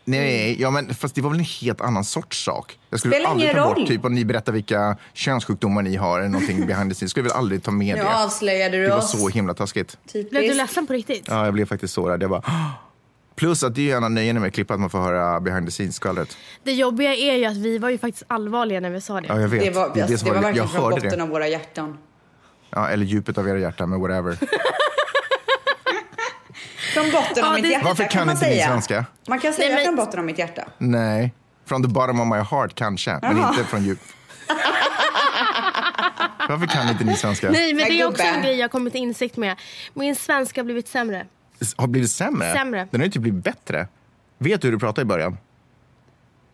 [SPEAKER 2] nej, ja, men, fast det var väl en helt annan sorts sak. Jag skulle
[SPEAKER 3] Spelar
[SPEAKER 2] aldrig
[SPEAKER 3] ingen
[SPEAKER 2] ta
[SPEAKER 3] roll.
[SPEAKER 2] bort typ om ni berättar vilka könssjukdomar ni har eller någonting behind the scenes. Skulle jag väl aldrig ta med
[SPEAKER 3] Nu
[SPEAKER 2] det.
[SPEAKER 3] avslöjade du
[SPEAKER 2] Det var
[SPEAKER 3] oss.
[SPEAKER 2] så himla taskigt.
[SPEAKER 3] Typiskt.
[SPEAKER 1] Blev du ledsen på riktigt?
[SPEAKER 2] Ja, jag blev faktiskt sårad. Jag bara, "Åh!" Plus att det är ju en av nöjena med att klippa att man får höra behind the scenes-skvallret.
[SPEAKER 1] Det jobbiga är ju att vi var ju faktiskt allvarliga när vi sa det.
[SPEAKER 2] Ja, jag vet.
[SPEAKER 3] Det var,
[SPEAKER 2] är
[SPEAKER 3] alltså,
[SPEAKER 2] som
[SPEAKER 3] det var
[SPEAKER 2] jag
[SPEAKER 3] verkligen från
[SPEAKER 2] hörde
[SPEAKER 3] botten
[SPEAKER 2] det.
[SPEAKER 3] av våra hjärtan.
[SPEAKER 2] Ja, eller djupet av era hjärtan, men whatever.
[SPEAKER 3] Från botten av
[SPEAKER 1] Ja,
[SPEAKER 3] mitt
[SPEAKER 1] det-
[SPEAKER 3] hjärta
[SPEAKER 2] Varför
[SPEAKER 3] kan
[SPEAKER 2] kan
[SPEAKER 3] man
[SPEAKER 2] inte ni
[SPEAKER 3] säga.
[SPEAKER 2] svenska?
[SPEAKER 3] Man kan säga
[SPEAKER 1] Nej, men-
[SPEAKER 3] från botten av mitt hjärta.
[SPEAKER 2] Nej. From the bottom of my heart kanske, men
[SPEAKER 3] Jaha.
[SPEAKER 2] inte från djup. Varför kan inte ni svenska?
[SPEAKER 1] Nej, men
[SPEAKER 3] Men
[SPEAKER 1] det är också en
[SPEAKER 3] gubben.
[SPEAKER 1] grej jag har kommit till insikt med. Min svenska har blivit sämre.
[SPEAKER 2] S- Har blivit sämre?
[SPEAKER 1] Sämre.
[SPEAKER 2] Den har ju typ blivit bättre. Vet du hur du pratade i början?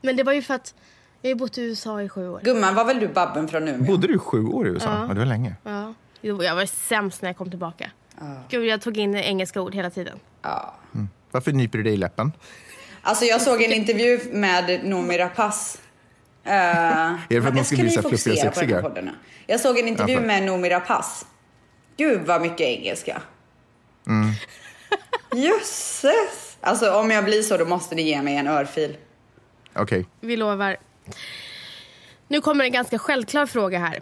[SPEAKER 1] Men det var ju för att jag har ju bott i USA i sju år.
[SPEAKER 3] Gumman, var väl du Babben från nu?
[SPEAKER 2] Bodde du sju år i USA? Ja. det var länge.
[SPEAKER 1] Ja. Jo, Jag var sämst när jag kom tillbaka. Gud, jag tog in engelska ord hela tiden.
[SPEAKER 3] Ja.
[SPEAKER 2] Varför nyper du dig i läppen?
[SPEAKER 3] Alltså jag såg en intervju med Noomi Rapace. Eh,
[SPEAKER 2] för att
[SPEAKER 3] men
[SPEAKER 2] man
[SPEAKER 3] jag
[SPEAKER 2] ska bli
[SPEAKER 3] ju
[SPEAKER 2] så här fluffiga,
[SPEAKER 3] fokusera på den här
[SPEAKER 2] sexiga?
[SPEAKER 3] podden nu. Jag såg en intervju
[SPEAKER 2] Ja, för-
[SPEAKER 3] med Noomi Rapace. Gud vad mycket engelska.
[SPEAKER 2] Mm.
[SPEAKER 3] Jösses! Alltså om jag blir så då måste ni ge mig en örfil.
[SPEAKER 2] Okej.
[SPEAKER 1] Vi lovar. Nu kommer en ganska självklar fråga här.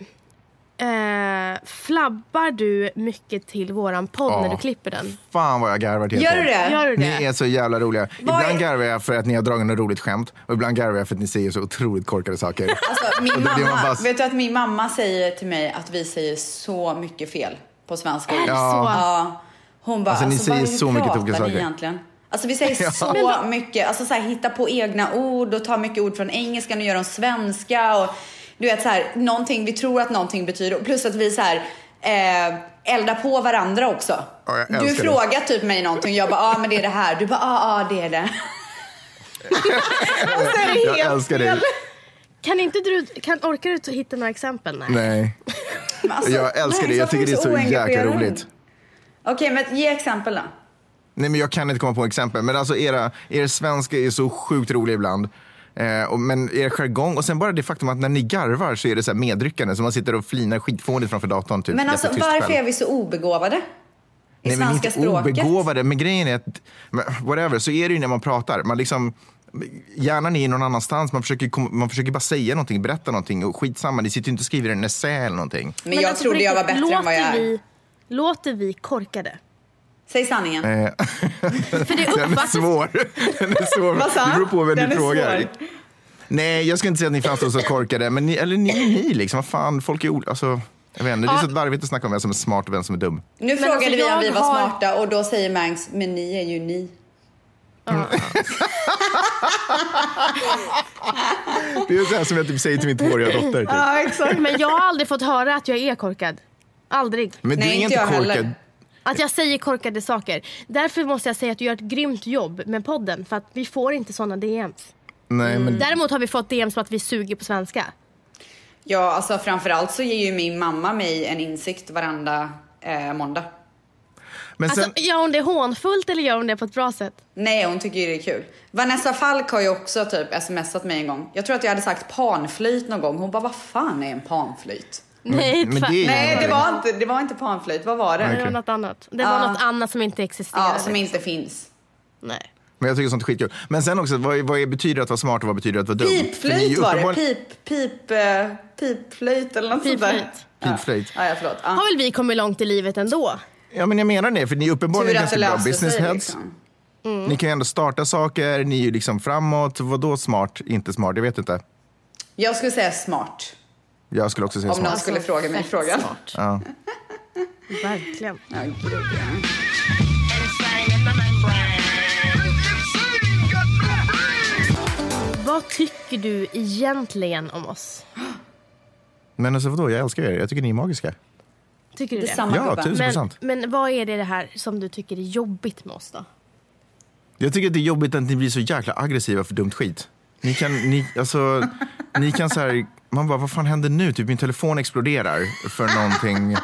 [SPEAKER 1] Eh, flabbar du mycket till våran podd
[SPEAKER 2] Ja.
[SPEAKER 1] när du klipper den?
[SPEAKER 2] Fan vad jag garvar till
[SPEAKER 3] Gör
[SPEAKER 2] er.
[SPEAKER 3] du det?
[SPEAKER 1] Gör du det?
[SPEAKER 2] Ni är så jävla roliga.
[SPEAKER 3] Vad
[SPEAKER 2] ibland
[SPEAKER 3] är-
[SPEAKER 2] garvar jag för att ni har dragit något roligt skämt och ibland garvar jag för att ni säger så otroligt korkade saker.
[SPEAKER 3] Alltså,
[SPEAKER 2] Och
[SPEAKER 3] min
[SPEAKER 2] då blir man
[SPEAKER 3] mamma,
[SPEAKER 2] bara-
[SPEAKER 3] Vet du att min mamma säger till mig att vi säger så mycket fel på svenska?
[SPEAKER 1] Är det
[SPEAKER 2] Ja.
[SPEAKER 1] så?
[SPEAKER 3] Ja. Hon bara,
[SPEAKER 2] Alltså, ni säger
[SPEAKER 3] vad-
[SPEAKER 2] så mycket
[SPEAKER 3] pratar
[SPEAKER 2] tokiga
[SPEAKER 3] ni
[SPEAKER 2] saker.
[SPEAKER 3] egentligen? Alltså vi säger så mycket, alltså så här, hitta på egna ord och ta mycket ord från engelskan och göra dem svenska och du vet så här, någonting, vi tror att någonting betyder och plus att vi så här eh, eldar på varandra också.
[SPEAKER 2] Ja, jag
[SPEAKER 3] du
[SPEAKER 2] älskar det.
[SPEAKER 3] frågar typ mig någonting, jag bara, ja ah, men det är det här. Du bara, ja ah, ah, det är det. och så är det
[SPEAKER 2] jag
[SPEAKER 3] helt
[SPEAKER 2] älskar dig.
[SPEAKER 1] Kan inte du, kan, orkar du ta- hitta några exempel? Nej.
[SPEAKER 2] Nej.
[SPEAKER 3] Men alltså,
[SPEAKER 2] jag älskar
[SPEAKER 3] nej,
[SPEAKER 2] det. Jag
[SPEAKER 3] varför
[SPEAKER 2] tycker det är så jäkla
[SPEAKER 3] oengagerad?
[SPEAKER 2] roligt.
[SPEAKER 3] Okej, men ge exempel då.
[SPEAKER 2] Nej men jag kan inte komma på exempel. Men alltså era, er svenska är så sjukt rolig ibland. Eh, och, men er jargong och sen bara det faktum att när ni garvar så är det så här medryckande. Så man sitter och flinar skitfånigt framför datorn. Typ,
[SPEAKER 3] Men alltså
[SPEAKER 2] jättetyst
[SPEAKER 3] varför
[SPEAKER 2] själv.
[SPEAKER 3] är vi så obegåvade? I
[SPEAKER 2] Nej, men
[SPEAKER 3] svenska
[SPEAKER 2] inte
[SPEAKER 3] språket?
[SPEAKER 2] obegåvade. Men grejen är att, men whatever, så är det ju när man pratar. Man liksom, hjärnan är någon annanstans. Man försöker, kom- man försöker bara säga någonting, berätta någonting. Och skitsamma, ni sitter ju inte och skriver en essä eller någonting.
[SPEAKER 3] Men, jag
[SPEAKER 1] alltså, på
[SPEAKER 3] trodde jag var
[SPEAKER 1] riktigt,
[SPEAKER 3] bättre än vad jag
[SPEAKER 1] låter
[SPEAKER 3] är.
[SPEAKER 1] vi, Låter vi korkade?
[SPEAKER 3] Säg sanningen.
[SPEAKER 2] Eh,
[SPEAKER 1] För det
[SPEAKER 2] den är
[SPEAKER 1] uppfattas...
[SPEAKER 2] svår. Den är svår.
[SPEAKER 3] Vad sa
[SPEAKER 2] Det beror på vem
[SPEAKER 3] Den
[SPEAKER 2] du
[SPEAKER 3] är
[SPEAKER 2] frågar.
[SPEAKER 3] svår.
[SPEAKER 2] Nej, jag ska inte säga att ni framstår så korkade, men ni, eller ni är ni liksom. Vad fan, folk är olika. Alltså, jag vet inte, det är
[SPEAKER 1] Ja.
[SPEAKER 2] så larvigt att snacka om vem som är smart och vem som är dum.
[SPEAKER 3] Nu
[SPEAKER 1] Men
[SPEAKER 3] frågade
[SPEAKER 1] alltså,
[SPEAKER 3] vi om
[SPEAKER 1] jag
[SPEAKER 3] vi var
[SPEAKER 1] har-
[SPEAKER 3] smarta och då säger Mangs, men ni är ju ni.
[SPEAKER 2] Det är så här som jag typ säger till min tvååriga dotter. Typ.
[SPEAKER 3] Ja, exakt.
[SPEAKER 1] Men jag har aldrig fått höra att jag är korkad. Aldrig.
[SPEAKER 2] Men
[SPEAKER 3] Nej,
[SPEAKER 2] du är
[SPEAKER 3] inte
[SPEAKER 2] inte
[SPEAKER 3] jag
[SPEAKER 2] korkad.
[SPEAKER 3] heller.
[SPEAKER 1] Att jag säger korkade saker. Därför måste jag säga att du gör ett grymt jobb med podden. För att vi får inte sådana DMs.
[SPEAKER 2] Nej,
[SPEAKER 3] Mm.
[SPEAKER 2] men
[SPEAKER 1] Däremot har vi fått DMs på att vi suger på svenska.
[SPEAKER 3] Ja, alltså framförallt så ger ju min mamma mig en insikt varenda eh, måndag.
[SPEAKER 2] men
[SPEAKER 1] Alltså,
[SPEAKER 2] sen,
[SPEAKER 1] gör hon det hånfullt eller gör hon det på ett bra sätt?
[SPEAKER 3] Nej, hon tycker ju det är kul. Vanessa Falk har ju också typ smsat mig en gång. Jag tror att jag hade sagt panflöjt någon gång. Hon bara, vad fan är en panflöjt?
[SPEAKER 1] Nej,
[SPEAKER 2] men
[SPEAKER 1] tvärt-
[SPEAKER 2] det är-
[SPEAKER 3] Nej, det var inte, det var inte panflöjt. Vad var
[SPEAKER 1] det
[SPEAKER 3] det?
[SPEAKER 1] var något annat. Det var något annat som inte existerade.
[SPEAKER 3] Ja, som inte finns.
[SPEAKER 1] Nej.
[SPEAKER 2] men jag tycker sånt är skitkul. Men sen också, vad, vad är, betyder att vara smart och vad betyder att vara dum? För ni är
[SPEAKER 3] Pipflöjt var det.
[SPEAKER 2] uppenbarligen-
[SPEAKER 3] Pip, pip, eh, pipflöjt eller något sånt
[SPEAKER 1] Pipflöjt.
[SPEAKER 3] där.
[SPEAKER 2] Pipflöjt.
[SPEAKER 3] Ja, ja förlåt. Ja.
[SPEAKER 1] Har väl vi kommit långt i livet ändå?
[SPEAKER 2] Ja, men jag menar det, för ni är uppenbarligen ganska bra
[SPEAKER 3] löste
[SPEAKER 2] business
[SPEAKER 3] sig,
[SPEAKER 2] heads.
[SPEAKER 3] liksom.
[SPEAKER 2] Ni kan ju ändå starta saker, ni är ju liksom framåt. Vadå smart, inte smart? Jag vet inte.
[SPEAKER 3] Jag skulle säga smart.
[SPEAKER 2] Jag skulle också säga
[SPEAKER 3] Om någon
[SPEAKER 2] smart.
[SPEAKER 3] skulle fråga mig
[SPEAKER 1] Alltså, fett
[SPEAKER 3] frågan.
[SPEAKER 1] Smart.
[SPEAKER 2] Ja.
[SPEAKER 1] Verkligen.
[SPEAKER 3] Ja, gud, ja.
[SPEAKER 1] Vad tycker du egentligen om oss?
[SPEAKER 2] Men alltså vadå, jag älskar er. Jag tycker ni är magiska.
[SPEAKER 1] Tycker du det?
[SPEAKER 3] Detsamma
[SPEAKER 2] Ja,
[SPEAKER 3] gubben.
[SPEAKER 2] tusen
[SPEAKER 1] Men,
[SPEAKER 2] procent.
[SPEAKER 1] men vad är det, det här som du tycker är jobbigt med oss då?
[SPEAKER 2] Jag tycker att det är jobbigt att ni blir så jäkla aggressiva för dumt skit. Ni kan, ni, alltså, ni kan så här, man bara, vad fan händer nu? Typ min telefon exploderar för någonting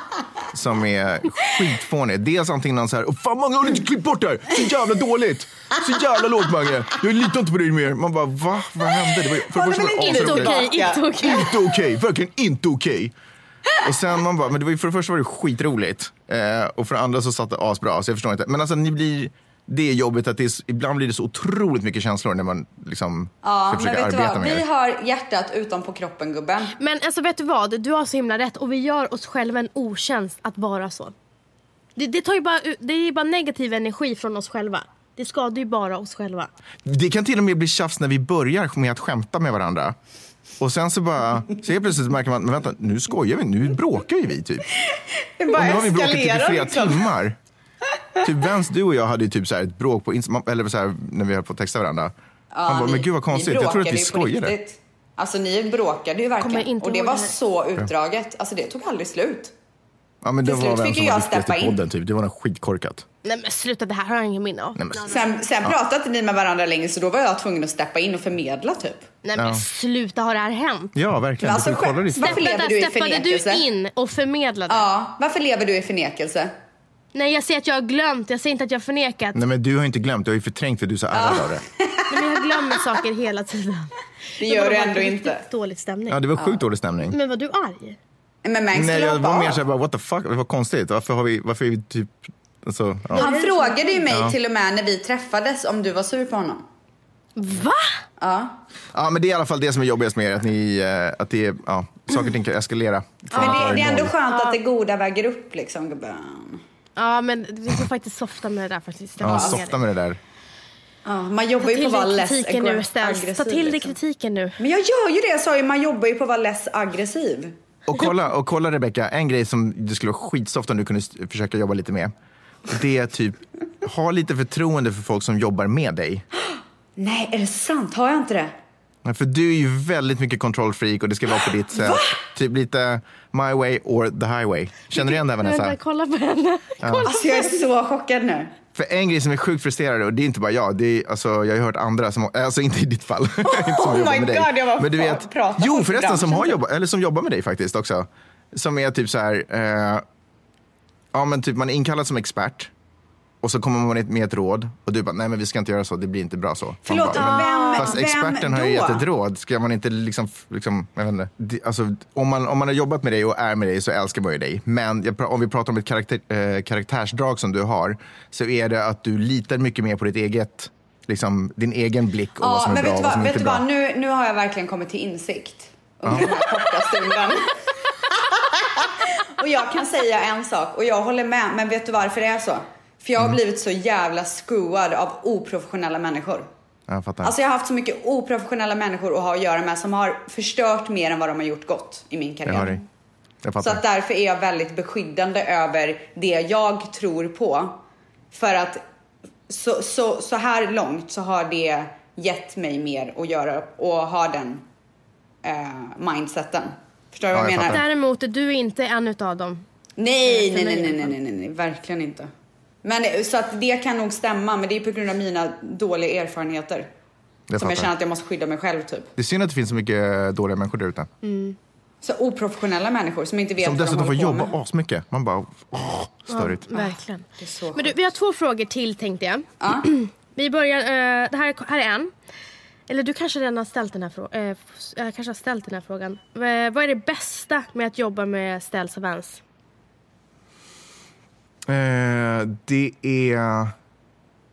[SPEAKER 2] som är skitfånigt. Dels antingen någon så här, "Åh, fan Mange har du inte klippt bort det här? Så jävla dåligt! Så jävla lågt Mange! Jag litar inte på dig mer. Man bara, va? Vad hände? Det var, för det
[SPEAKER 3] Håller
[SPEAKER 2] första var
[SPEAKER 3] väl
[SPEAKER 2] det
[SPEAKER 3] inte
[SPEAKER 1] Inte
[SPEAKER 2] asroligt.
[SPEAKER 1] okej,
[SPEAKER 3] tillbaka.
[SPEAKER 1] inte okej.
[SPEAKER 2] inte okej, verkligen inte okej. Och sen man bara, men det var ju, för det första var det skitroligt eh, och för det andra så satt det asbra, så jag förstår inte. Men alltså ni blir, det är jobbigt att det är, s- ibland blir det så otroligt mycket känslor när man liksom
[SPEAKER 3] Ja,
[SPEAKER 2] ska
[SPEAKER 3] men
[SPEAKER 2] försöka
[SPEAKER 3] vet du
[SPEAKER 2] arbeta
[SPEAKER 3] vad?
[SPEAKER 2] med
[SPEAKER 3] Vi
[SPEAKER 2] det.
[SPEAKER 3] har hjärtat utom på kroppen gubben.
[SPEAKER 1] Men alltså vet du vad? Du har så himla rätt och vi gör oss själva en otjänst att vara så. Det, det, tar ju bara, ut- det är ju bara negativ energi från oss själva. Det skadar ju bara oss själva.
[SPEAKER 2] Det kan till och med bli tjafs när vi börjar med att skämta med varandra. Och sen så bara, så helt plötsligt märker man, men vänta, nu skojar vi, nu bråkar ju vi typ.
[SPEAKER 3] Det
[SPEAKER 2] Och
[SPEAKER 3] bara
[SPEAKER 2] nu har vi bråkat typ i
[SPEAKER 3] eskalerar
[SPEAKER 2] flera
[SPEAKER 3] liksom.
[SPEAKER 2] timmar. Typ Vens, du och jag hade ju typ så här ett bråk på Instagram, eller så här, när vi höll på att texta varandra. Han bara,
[SPEAKER 3] ni-
[SPEAKER 2] men gud vad
[SPEAKER 3] ni
[SPEAKER 2] konstigt, jag trodde att vi
[SPEAKER 3] bråkade ju på
[SPEAKER 2] skojade.
[SPEAKER 3] riktigt. Alltså ni bråkade ju
[SPEAKER 1] Kommer
[SPEAKER 3] verkligen.
[SPEAKER 1] inte
[SPEAKER 3] Och det
[SPEAKER 1] ihåg
[SPEAKER 3] var
[SPEAKER 1] det här.
[SPEAKER 3] så utdraget. Alltså det tog aldrig slut.
[SPEAKER 2] Ja, men det
[SPEAKER 3] Till slut
[SPEAKER 2] var vem
[SPEAKER 3] fick
[SPEAKER 2] som
[SPEAKER 3] ju
[SPEAKER 2] var
[SPEAKER 3] jag
[SPEAKER 2] viktigast
[SPEAKER 3] steppa
[SPEAKER 2] i
[SPEAKER 3] in.
[SPEAKER 2] podden typ, det var något skitkorkat.
[SPEAKER 1] Nej men sluta, det här har jag ingen minne av.
[SPEAKER 2] Nej, men,
[SPEAKER 3] Sen, sen pratade inte ni med varandra längre så då var jag tvungen att steppa in och förmedla typ.
[SPEAKER 1] Nej men
[SPEAKER 2] Ja.
[SPEAKER 1] sluta, har det här hänt?
[SPEAKER 2] ja, verkligen.
[SPEAKER 3] Men alltså,
[SPEAKER 2] du får kolla
[SPEAKER 3] skämt-
[SPEAKER 2] ditt
[SPEAKER 3] Varför
[SPEAKER 1] Vänta,
[SPEAKER 3] lever du i
[SPEAKER 1] steppade
[SPEAKER 3] förnekelse?
[SPEAKER 1] du in och förmedlade?
[SPEAKER 3] Ja, varför lever du i förnekelse?
[SPEAKER 1] Nej jag säger att jag har glömt, jag säger inte att jag har förnekat.
[SPEAKER 2] Nej, men du har ju inte glömt, du har ju förträngt för du är så ärrad av det.
[SPEAKER 1] Nej, men jag glömmer saker hela tiden.
[SPEAKER 3] Det gör
[SPEAKER 1] var
[SPEAKER 3] du
[SPEAKER 1] bara
[SPEAKER 3] ändå
[SPEAKER 1] riktigt
[SPEAKER 3] inte.
[SPEAKER 1] Dålig stämning.
[SPEAKER 2] Ja, det var sjukt dålig stämning.
[SPEAKER 1] Men var du arg?
[SPEAKER 3] Men Mangs
[SPEAKER 2] Nej,
[SPEAKER 3] Mm, skulle
[SPEAKER 2] jag
[SPEAKER 3] hoppa
[SPEAKER 2] var mer
[SPEAKER 3] av.
[SPEAKER 2] så här, bara, what the fuck, vad konstigt, varför har vi, varför är vi typ, alltså, ja.
[SPEAKER 3] Han frågade ju mig till och med när vi träffades om du var sur på honom.
[SPEAKER 1] Va?
[SPEAKER 3] Ja.
[SPEAKER 2] Ja, men det är i alla fall det som är jobbigast med er, att, ni, eh, att det är, ja, saker och ting kan eskalera. från
[SPEAKER 3] Men
[SPEAKER 2] att vara
[SPEAKER 3] det, det är ändå
[SPEAKER 2] noll.
[SPEAKER 3] skönt att det goda väger upp liksom gubben.
[SPEAKER 1] Ja, men vi får faktiskt softa med det där faktiskt.
[SPEAKER 2] Ja, softa med det där.
[SPEAKER 3] Ja, man jobbar
[SPEAKER 1] Ta
[SPEAKER 3] ju på
[SPEAKER 1] till
[SPEAKER 3] att vara
[SPEAKER 1] dig
[SPEAKER 3] less
[SPEAKER 1] kritiken nu, Stens. Ta
[SPEAKER 3] aggressiv,
[SPEAKER 1] till dig
[SPEAKER 3] liksom.
[SPEAKER 1] kritiken nu.
[SPEAKER 3] Men jag gör ju det, jag sa ju. Man jobbar ju på att vara less aggressiv.
[SPEAKER 2] Och kolla, och kolla Rebecca, en grej som det skulle vara skitsoft om du kunde st- försöka jobba lite med. Det är typ, ha lite förtroende för folk som jobbar med dig.
[SPEAKER 3] Nej, är det sant? Har jag inte det?
[SPEAKER 2] För du är ju väldigt mycket kontrollfreak och det ska vara på ditt sätt. Typ lite my way or the highway. Känner du igen det här Vanessa?
[SPEAKER 1] Vänta, kolla på henne. Kolla.
[SPEAKER 3] Alltså jag är så chockad nu.
[SPEAKER 2] För en grej som är sjukt frustrerande, och det är inte bara jag, det är, alltså, jag har ju hört andra, som, alltså inte i ditt fall. inte som
[SPEAKER 3] Oh
[SPEAKER 2] jobbar
[SPEAKER 3] my
[SPEAKER 2] med dig.
[SPEAKER 3] God, jag bara
[SPEAKER 2] Men du
[SPEAKER 3] fa-
[SPEAKER 2] vet,
[SPEAKER 3] pratar
[SPEAKER 2] Jo
[SPEAKER 3] om
[SPEAKER 2] förresten, som, har
[SPEAKER 3] branschen.
[SPEAKER 2] jobbat, eller som jobbar med dig faktiskt också. Som är typ så här, eh, ja men typ man är inkallad som expert. Och så kommer man med ett- med ett råd och du bara, nej men vi ska inte göra så, det blir inte bra så. Man
[SPEAKER 3] Förlåt,
[SPEAKER 2] bara, men-
[SPEAKER 3] vem,
[SPEAKER 2] Fast
[SPEAKER 3] vem
[SPEAKER 2] experten
[SPEAKER 3] då?
[SPEAKER 2] har ju gett ett råd. Ska man inte liksom, liksom jag vet inte. Det- Alltså, om, man, om man har jobbat med dig och är med dig så älskar man ju dig. Men jag, pra- om vi pratar om ett karaktär, eh, karaktärsdrag som du har så är det att du litar mycket mer på ditt eget, liksom, din egen blick och vad
[SPEAKER 3] Ja,
[SPEAKER 2] som är
[SPEAKER 3] men
[SPEAKER 2] bra och
[SPEAKER 3] vet
[SPEAKER 2] vad
[SPEAKER 3] du vad?
[SPEAKER 2] som
[SPEAKER 3] Vet
[SPEAKER 2] inte
[SPEAKER 3] du
[SPEAKER 2] är bra.
[SPEAKER 3] vad? Nu, nu har jag verkligen kommit till insikt under den här korta stunden. och jag kan säga en sak och jag håller med, men vet du varför det är så? För
[SPEAKER 2] Mm.
[SPEAKER 3] jag har blivit så jävla screwad av oprofessionella människor.
[SPEAKER 2] Ja, Jag fattar.
[SPEAKER 3] Alltså jag har haft så mycket oprofessionella människor att ha att göra med som har förstört mer än vad de har gjort gott i min
[SPEAKER 2] jag
[SPEAKER 3] karriär.
[SPEAKER 2] hör dig. Jag
[SPEAKER 3] Så
[SPEAKER 2] fattar.
[SPEAKER 3] att därför är jag väldigt beskyddande över det jag tror på. För att så, så, så här långt så har det gett mig mer att göra och ha den eh, mindseten. Förstår du
[SPEAKER 2] Ja, jag
[SPEAKER 3] vad jag menar?
[SPEAKER 2] fattar.
[SPEAKER 1] Däremot är du inte en utav dem.
[SPEAKER 3] Nej,
[SPEAKER 1] Eh,
[SPEAKER 3] nej,
[SPEAKER 1] för
[SPEAKER 3] nej,
[SPEAKER 1] mig i
[SPEAKER 3] nej,
[SPEAKER 1] alla
[SPEAKER 3] nej,
[SPEAKER 1] fall.
[SPEAKER 3] nej, nej, nej, verkligen inte. Men eh, så att det kan nog stämma, men det är på grund av mina dåliga erfarenheter.
[SPEAKER 2] Jag
[SPEAKER 3] som jag
[SPEAKER 2] fattar.
[SPEAKER 3] känner att jag måste skydda mig själv typ.
[SPEAKER 2] Det är synd att det finns så mycket dåliga människor där ute.
[SPEAKER 3] Mm. Så oprofessionella människor som inte vet
[SPEAKER 2] Som
[SPEAKER 3] vad de
[SPEAKER 2] dessutom får
[SPEAKER 3] håller på
[SPEAKER 2] jobba
[SPEAKER 3] med.
[SPEAKER 2] asmycket. Man bara, åh, störigt.
[SPEAKER 1] Verkligen.
[SPEAKER 3] Ah, Det är så sjukt.
[SPEAKER 1] Men du, vi har två frågor till tänkte jag.
[SPEAKER 3] Ja.
[SPEAKER 1] Vi börjar, eh, det här, är- här är en. Eller du kanske redan har ställt den här frågan. Uh, jag kanske har ställt den här frågan. Eh, vad är det bästa med att jobba med Ställs och Vans?
[SPEAKER 2] Eh, det är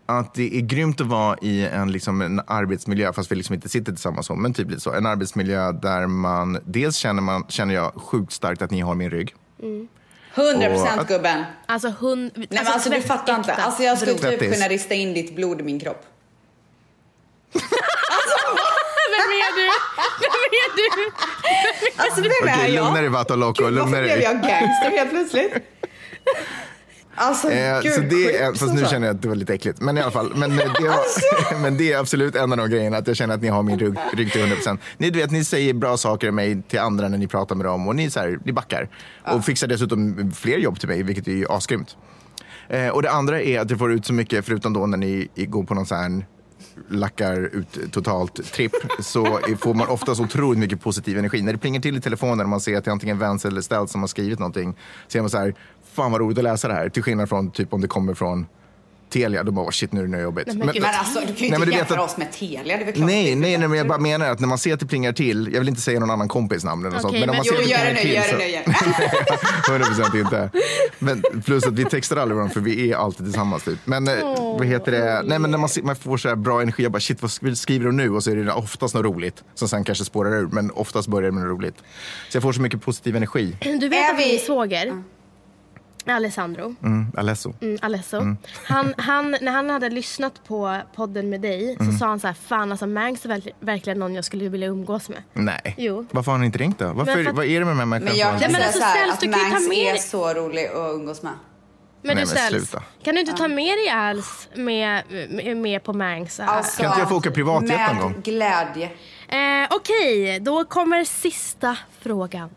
[SPEAKER 2] att det är grymt att vara i en, liksom, en arbetsmiljö, fast vi liksom inte sitter tillsammans, så, men typ lite så. En arbetsmiljö där man, dels känner, man, känner jag sjukt starkt att ni har min rygg.
[SPEAKER 3] 100%
[SPEAKER 2] Och-
[SPEAKER 3] gubben.
[SPEAKER 1] Alltså hund...
[SPEAKER 3] Nej men alltså du fattar inte. Alltså jag skulle typ
[SPEAKER 2] Tvättis.
[SPEAKER 3] kunna rista in ditt blod i min kropp.
[SPEAKER 1] Vem är du? Vem är du?
[SPEAKER 3] Alltså vem är
[SPEAKER 2] Okej,
[SPEAKER 3] jag?
[SPEAKER 2] lugna dig Vataloco,
[SPEAKER 3] Gud,
[SPEAKER 2] lugna
[SPEAKER 3] varför blev
[SPEAKER 2] dig.
[SPEAKER 3] jag gangster helt plötsligt? Alltså
[SPEAKER 2] Eh,
[SPEAKER 3] gud,
[SPEAKER 2] så det är,
[SPEAKER 3] sjukt,
[SPEAKER 2] fast nu
[SPEAKER 3] alltså.
[SPEAKER 2] känner jag att det var lite äckligt. Men i alla fall. Men, eh, det, var, men det är absolut en av de grejerna, att jag känner att ni har min rygg, rygg till 100%. Ni, du vet, ni säger bra saker om mig till andra när ni pratar med dem och ni, så här, ni backar. Och fixar dessutom fler jobb till mig, vilket är ju asgrymt. Eh, och det andra är att du får ut så mycket, förutom då när ni i- går på någon sån här lackar ut totalt tripp så i- får man ofta så otroligt mycket positiv energi. När det plingar till i telefonen och man ser att det är antingen Vens eller Ställs som har skrivit någonting så är man så här, fan vad roligt att läsa det här. Till skillnad från typ om det kommer från Telia, då bara "Åh, shit nu är det jobbigt.
[SPEAKER 1] Nej, men gud.
[SPEAKER 3] Men alltså du kan
[SPEAKER 2] Nej,
[SPEAKER 3] ju
[SPEAKER 2] men
[SPEAKER 3] inte
[SPEAKER 2] du vet
[SPEAKER 3] jämföra
[SPEAKER 2] att-
[SPEAKER 3] oss med Telia, det är väl klart.
[SPEAKER 2] Nej, nej, nej, men jag bara menar att när man ser att det plingar till, jag vill inte säga någon annan kompis namn eller något sånt,
[SPEAKER 1] Okej,
[SPEAKER 2] men om
[SPEAKER 1] men-
[SPEAKER 2] man
[SPEAKER 3] Jo
[SPEAKER 2] ser att det
[SPEAKER 3] gör det
[SPEAKER 2] plingar
[SPEAKER 3] nu,
[SPEAKER 2] till
[SPEAKER 3] gör
[SPEAKER 2] så...
[SPEAKER 3] det nu, gör det.
[SPEAKER 2] 100% inte. Men plus att vi textar aldrig varandra för vi är alltid tillsammans. Typ. Men eh, vad heter det? Nej, men när man, ser- man får så här bra energi, jag bara shit vad skriver de nu? Och så är det oftast något roligt som sen kanske spårar ur. Men oftast börjar det med något roligt. Så jag får så mycket positiv energi.
[SPEAKER 1] Du vet
[SPEAKER 3] Är
[SPEAKER 1] att
[SPEAKER 3] vi-
[SPEAKER 1] min svåger, Alessandro,
[SPEAKER 2] Mm, Alesso.
[SPEAKER 1] Mm, Alesso. Han, han, när han hade lyssnat på podden med dig
[SPEAKER 2] Mm.
[SPEAKER 1] så sa han så här, fan alltså Mangs är verkl- verkligen någon jag skulle vilja umgås med.
[SPEAKER 2] Nej.
[SPEAKER 1] Jo.
[SPEAKER 2] Varför har ni inte ringt då? Varför,
[SPEAKER 1] Men för att-
[SPEAKER 2] Vad är det med de här människorna?
[SPEAKER 3] Men
[SPEAKER 2] som-
[SPEAKER 3] jag kan
[SPEAKER 1] men
[SPEAKER 3] säga
[SPEAKER 1] alltså,
[SPEAKER 3] såhär
[SPEAKER 1] Ställs,
[SPEAKER 3] att
[SPEAKER 1] du kan ju ta
[SPEAKER 3] Mangs
[SPEAKER 1] med
[SPEAKER 3] är
[SPEAKER 1] dig-
[SPEAKER 3] så rolig att umgås med.
[SPEAKER 1] Men
[SPEAKER 2] Nej,
[SPEAKER 1] du
[SPEAKER 2] men
[SPEAKER 1] ställs,
[SPEAKER 2] sluta.
[SPEAKER 1] kan du inte ta med dig Als med, med, med på Mangs? här?
[SPEAKER 3] Alltså,
[SPEAKER 2] Kan inte jag få åka privatjet någon gång?
[SPEAKER 3] Med Alltså, glädje.
[SPEAKER 1] Eh, Okej, då kommer sista frågan.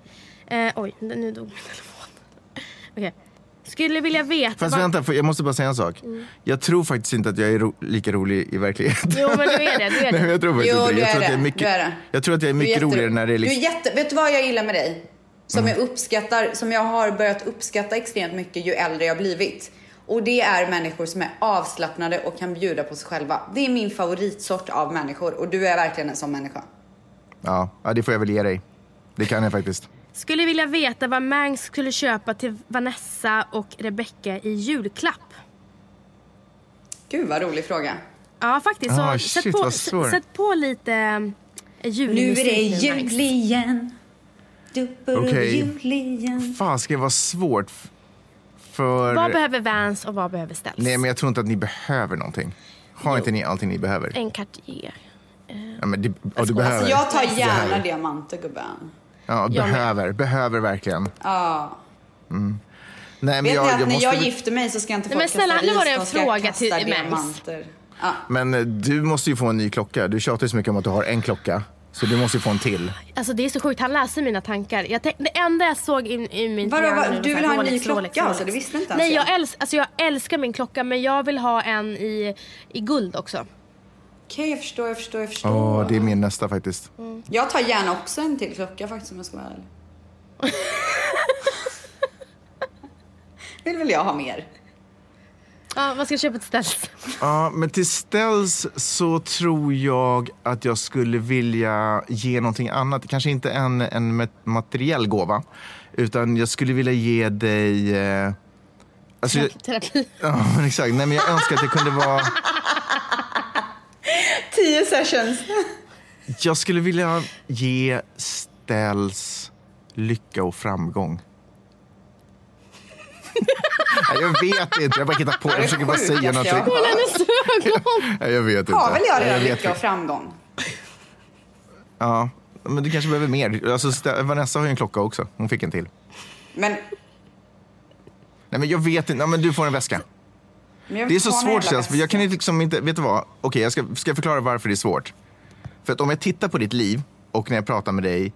[SPEAKER 1] Eh, oj, nu dog min telefon. Okej. Skulle vilja veta...
[SPEAKER 2] Fast
[SPEAKER 1] vad-
[SPEAKER 2] vänta, för jag måste bara säga en sak.
[SPEAKER 3] Mm.
[SPEAKER 2] Jag tror faktiskt inte att jag är ro- lika rolig i verkligheten.
[SPEAKER 1] Jo, men du är det, du är det.
[SPEAKER 2] Nej, men jag tror faktiskt
[SPEAKER 3] Jo,
[SPEAKER 2] inte
[SPEAKER 3] du
[SPEAKER 2] det. Jag
[SPEAKER 3] är
[SPEAKER 2] tror att jag
[SPEAKER 3] det.
[SPEAKER 2] är
[SPEAKER 3] Du är
[SPEAKER 2] mycket,
[SPEAKER 3] det.
[SPEAKER 2] jag tror att jag är mycket
[SPEAKER 3] Du jätte-
[SPEAKER 2] roligare när det är
[SPEAKER 3] du
[SPEAKER 2] liksom... Mm.
[SPEAKER 3] är jätte... Vet du vad jag gillar med dig? Som jag uppskattar, som jag har börjat uppskatta extremt mycket ju äldre jag blivit. Och det är människor som är avslappnade och kan bjuda på sig själva. Det är min favoritsort av människor och du är verkligen en sån människa.
[SPEAKER 2] Ja, ja, det får jag väl ge dig. Det kan jag faktiskt.
[SPEAKER 1] Skulle vilja veta vad Mangs skulle köpa till Vanessa och Rebecca i julklapp.
[SPEAKER 3] Gud vad rolig fråga.
[SPEAKER 1] Ja, faktiskt. Så
[SPEAKER 2] Ah,
[SPEAKER 1] sätt,
[SPEAKER 2] shit,
[SPEAKER 1] på,
[SPEAKER 2] vad svår.
[SPEAKER 1] s- sätt på lite eh,
[SPEAKER 3] Nu är
[SPEAKER 1] julmusik
[SPEAKER 3] det
[SPEAKER 1] Max.
[SPEAKER 3] jul igen.
[SPEAKER 2] Okej.
[SPEAKER 3] Okej. Jul igen.
[SPEAKER 2] Fan, ska det vara svårt? f- För...
[SPEAKER 1] Vad behöver Vans och vad behöver Ställs?
[SPEAKER 2] Nej, men jag tror inte att ni behöver någonting. Har inte ni allting ni behöver?
[SPEAKER 1] En Cartier.
[SPEAKER 2] Ja, men det, ja, du behöver.
[SPEAKER 3] Eh. Alltså jag tar
[SPEAKER 2] Behöver.
[SPEAKER 3] gärna diamanter gubben.
[SPEAKER 2] Ja,
[SPEAKER 1] Jag med.
[SPEAKER 2] behöver. Behöver verkligen. Mm.
[SPEAKER 3] Ja.
[SPEAKER 2] Nej, men
[SPEAKER 3] Vet ni
[SPEAKER 2] jag,
[SPEAKER 3] att
[SPEAKER 2] jag
[SPEAKER 3] när
[SPEAKER 2] måste...
[SPEAKER 3] jag gifter mig så ska inte folk
[SPEAKER 1] men snälla,
[SPEAKER 3] kasta
[SPEAKER 1] nu var det en
[SPEAKER 3] ris, de ska
[SPEAKER 1] fråga
[SPEAKER 3] kasta
[SPEAKER 1] till Max.
[SPEAKER 3] diamanter. Ja.
[SPEAKER 2] Men eh, du måste ju få en ny klocka. Du tjatar ju så mycket om att du har en klocka. Så du måste ju få en till.
[SPEAKER 1] Alltså det är så sjukt, han läser mina tankar. Jag tänk, det enda jag såg i, i min
[SPEAKER 3] Vadå,
[SPEAKER 1] hjärna
[SPEAKER 3] vad-
[SPEAKER 1] nu var
[SPEAKER 3] du
[SPEAKER 1] så här,
[SPEAKER 3] vill ha en ny
[SPEAKER 1] Rolex,
[SPEAKER 3] klocka
[SPEAKER 1] Rolex,
[SPEAKER 3] alltså?
[SPEAKER 1] Rolex.
[SPEAKER 3] Det visste inte ens
[SPEAKER 1] Nej,
[SPEAKER 3] jag.
[SPEAKER 1] jag, älsk, alltså jag älskar min klocka men jag vill ha en i, i guld också.
[SPEAKER 3] Okej, jag förstår, jag förstår, jag förstår.
[SPEAKER 2] Åh, det är min nästa faktiskt.
[SPEAKER 3] Jag tar gärna också en till klocka faktiskt om jag ska vara ärlig. Vill väl jag ha mer?
[SPEAKER 1] Ja, vad ska jag köpa till Ställs?
[SPEAKER 2] Ja, men till ställs så tror jag att jag skulle vilja ge någonting annat. Kanske inte en, en ma- materiell gåva. Utan jag skulle vilja ge dig... Eh, alltså, jag,
[SPEAKER 1] Terapi.
[SPEAKER 2] ja, men exakt. Nej, men jag önskar att jag kunde vara...
[SPEAKER 3] Tio sessions.
[SPEAKER 2] Jag skulle vilja ge Ställs lycka och framgång. Nej, jag vet inte, jag bara hittar på. Jag försöker bara säga
[SPEAKER 3] Sjukaste jag
[SPEAKER 2] någonting.
[SPEAKER 3] har hört.
[SPEAKER 2] Nej, jag vet inte.
[SPEAKER 3] Har väl jag redan
[SPEAKER 2] vet
[SPEAKER 3] lycka och
[SPEAKER 2] inte.
[SPEAKER 3] framgång?
[SPEAKER 2] Ja, men du kanske behöver mer. Alltså, Stä- Vanessa har ju en klocka också. Hon fick en till.
[SPEAKER 3] Men,
[SPEAKER 2] Nej, men jag vet inte. Ja, men du får en väska.
[SPEAKER 3] men jag
[SPEAKER 2] Det är
[SPEAKER 3] vill
[SPEAKER 2] så
[SPEAKER 3] ta den
[SPEAKER 2] svårt
[SPEAKER 3] jävla
[SPEAKER 2] känns för jag kan
[SPEAKER 3] väskan.
[SPEAKER 2] ju liksom inte, vet du vad? Okej, jag ska, ska jag förklara varför det är svårt. För att om jag tittar på ditt liv och när jag pratar med dig,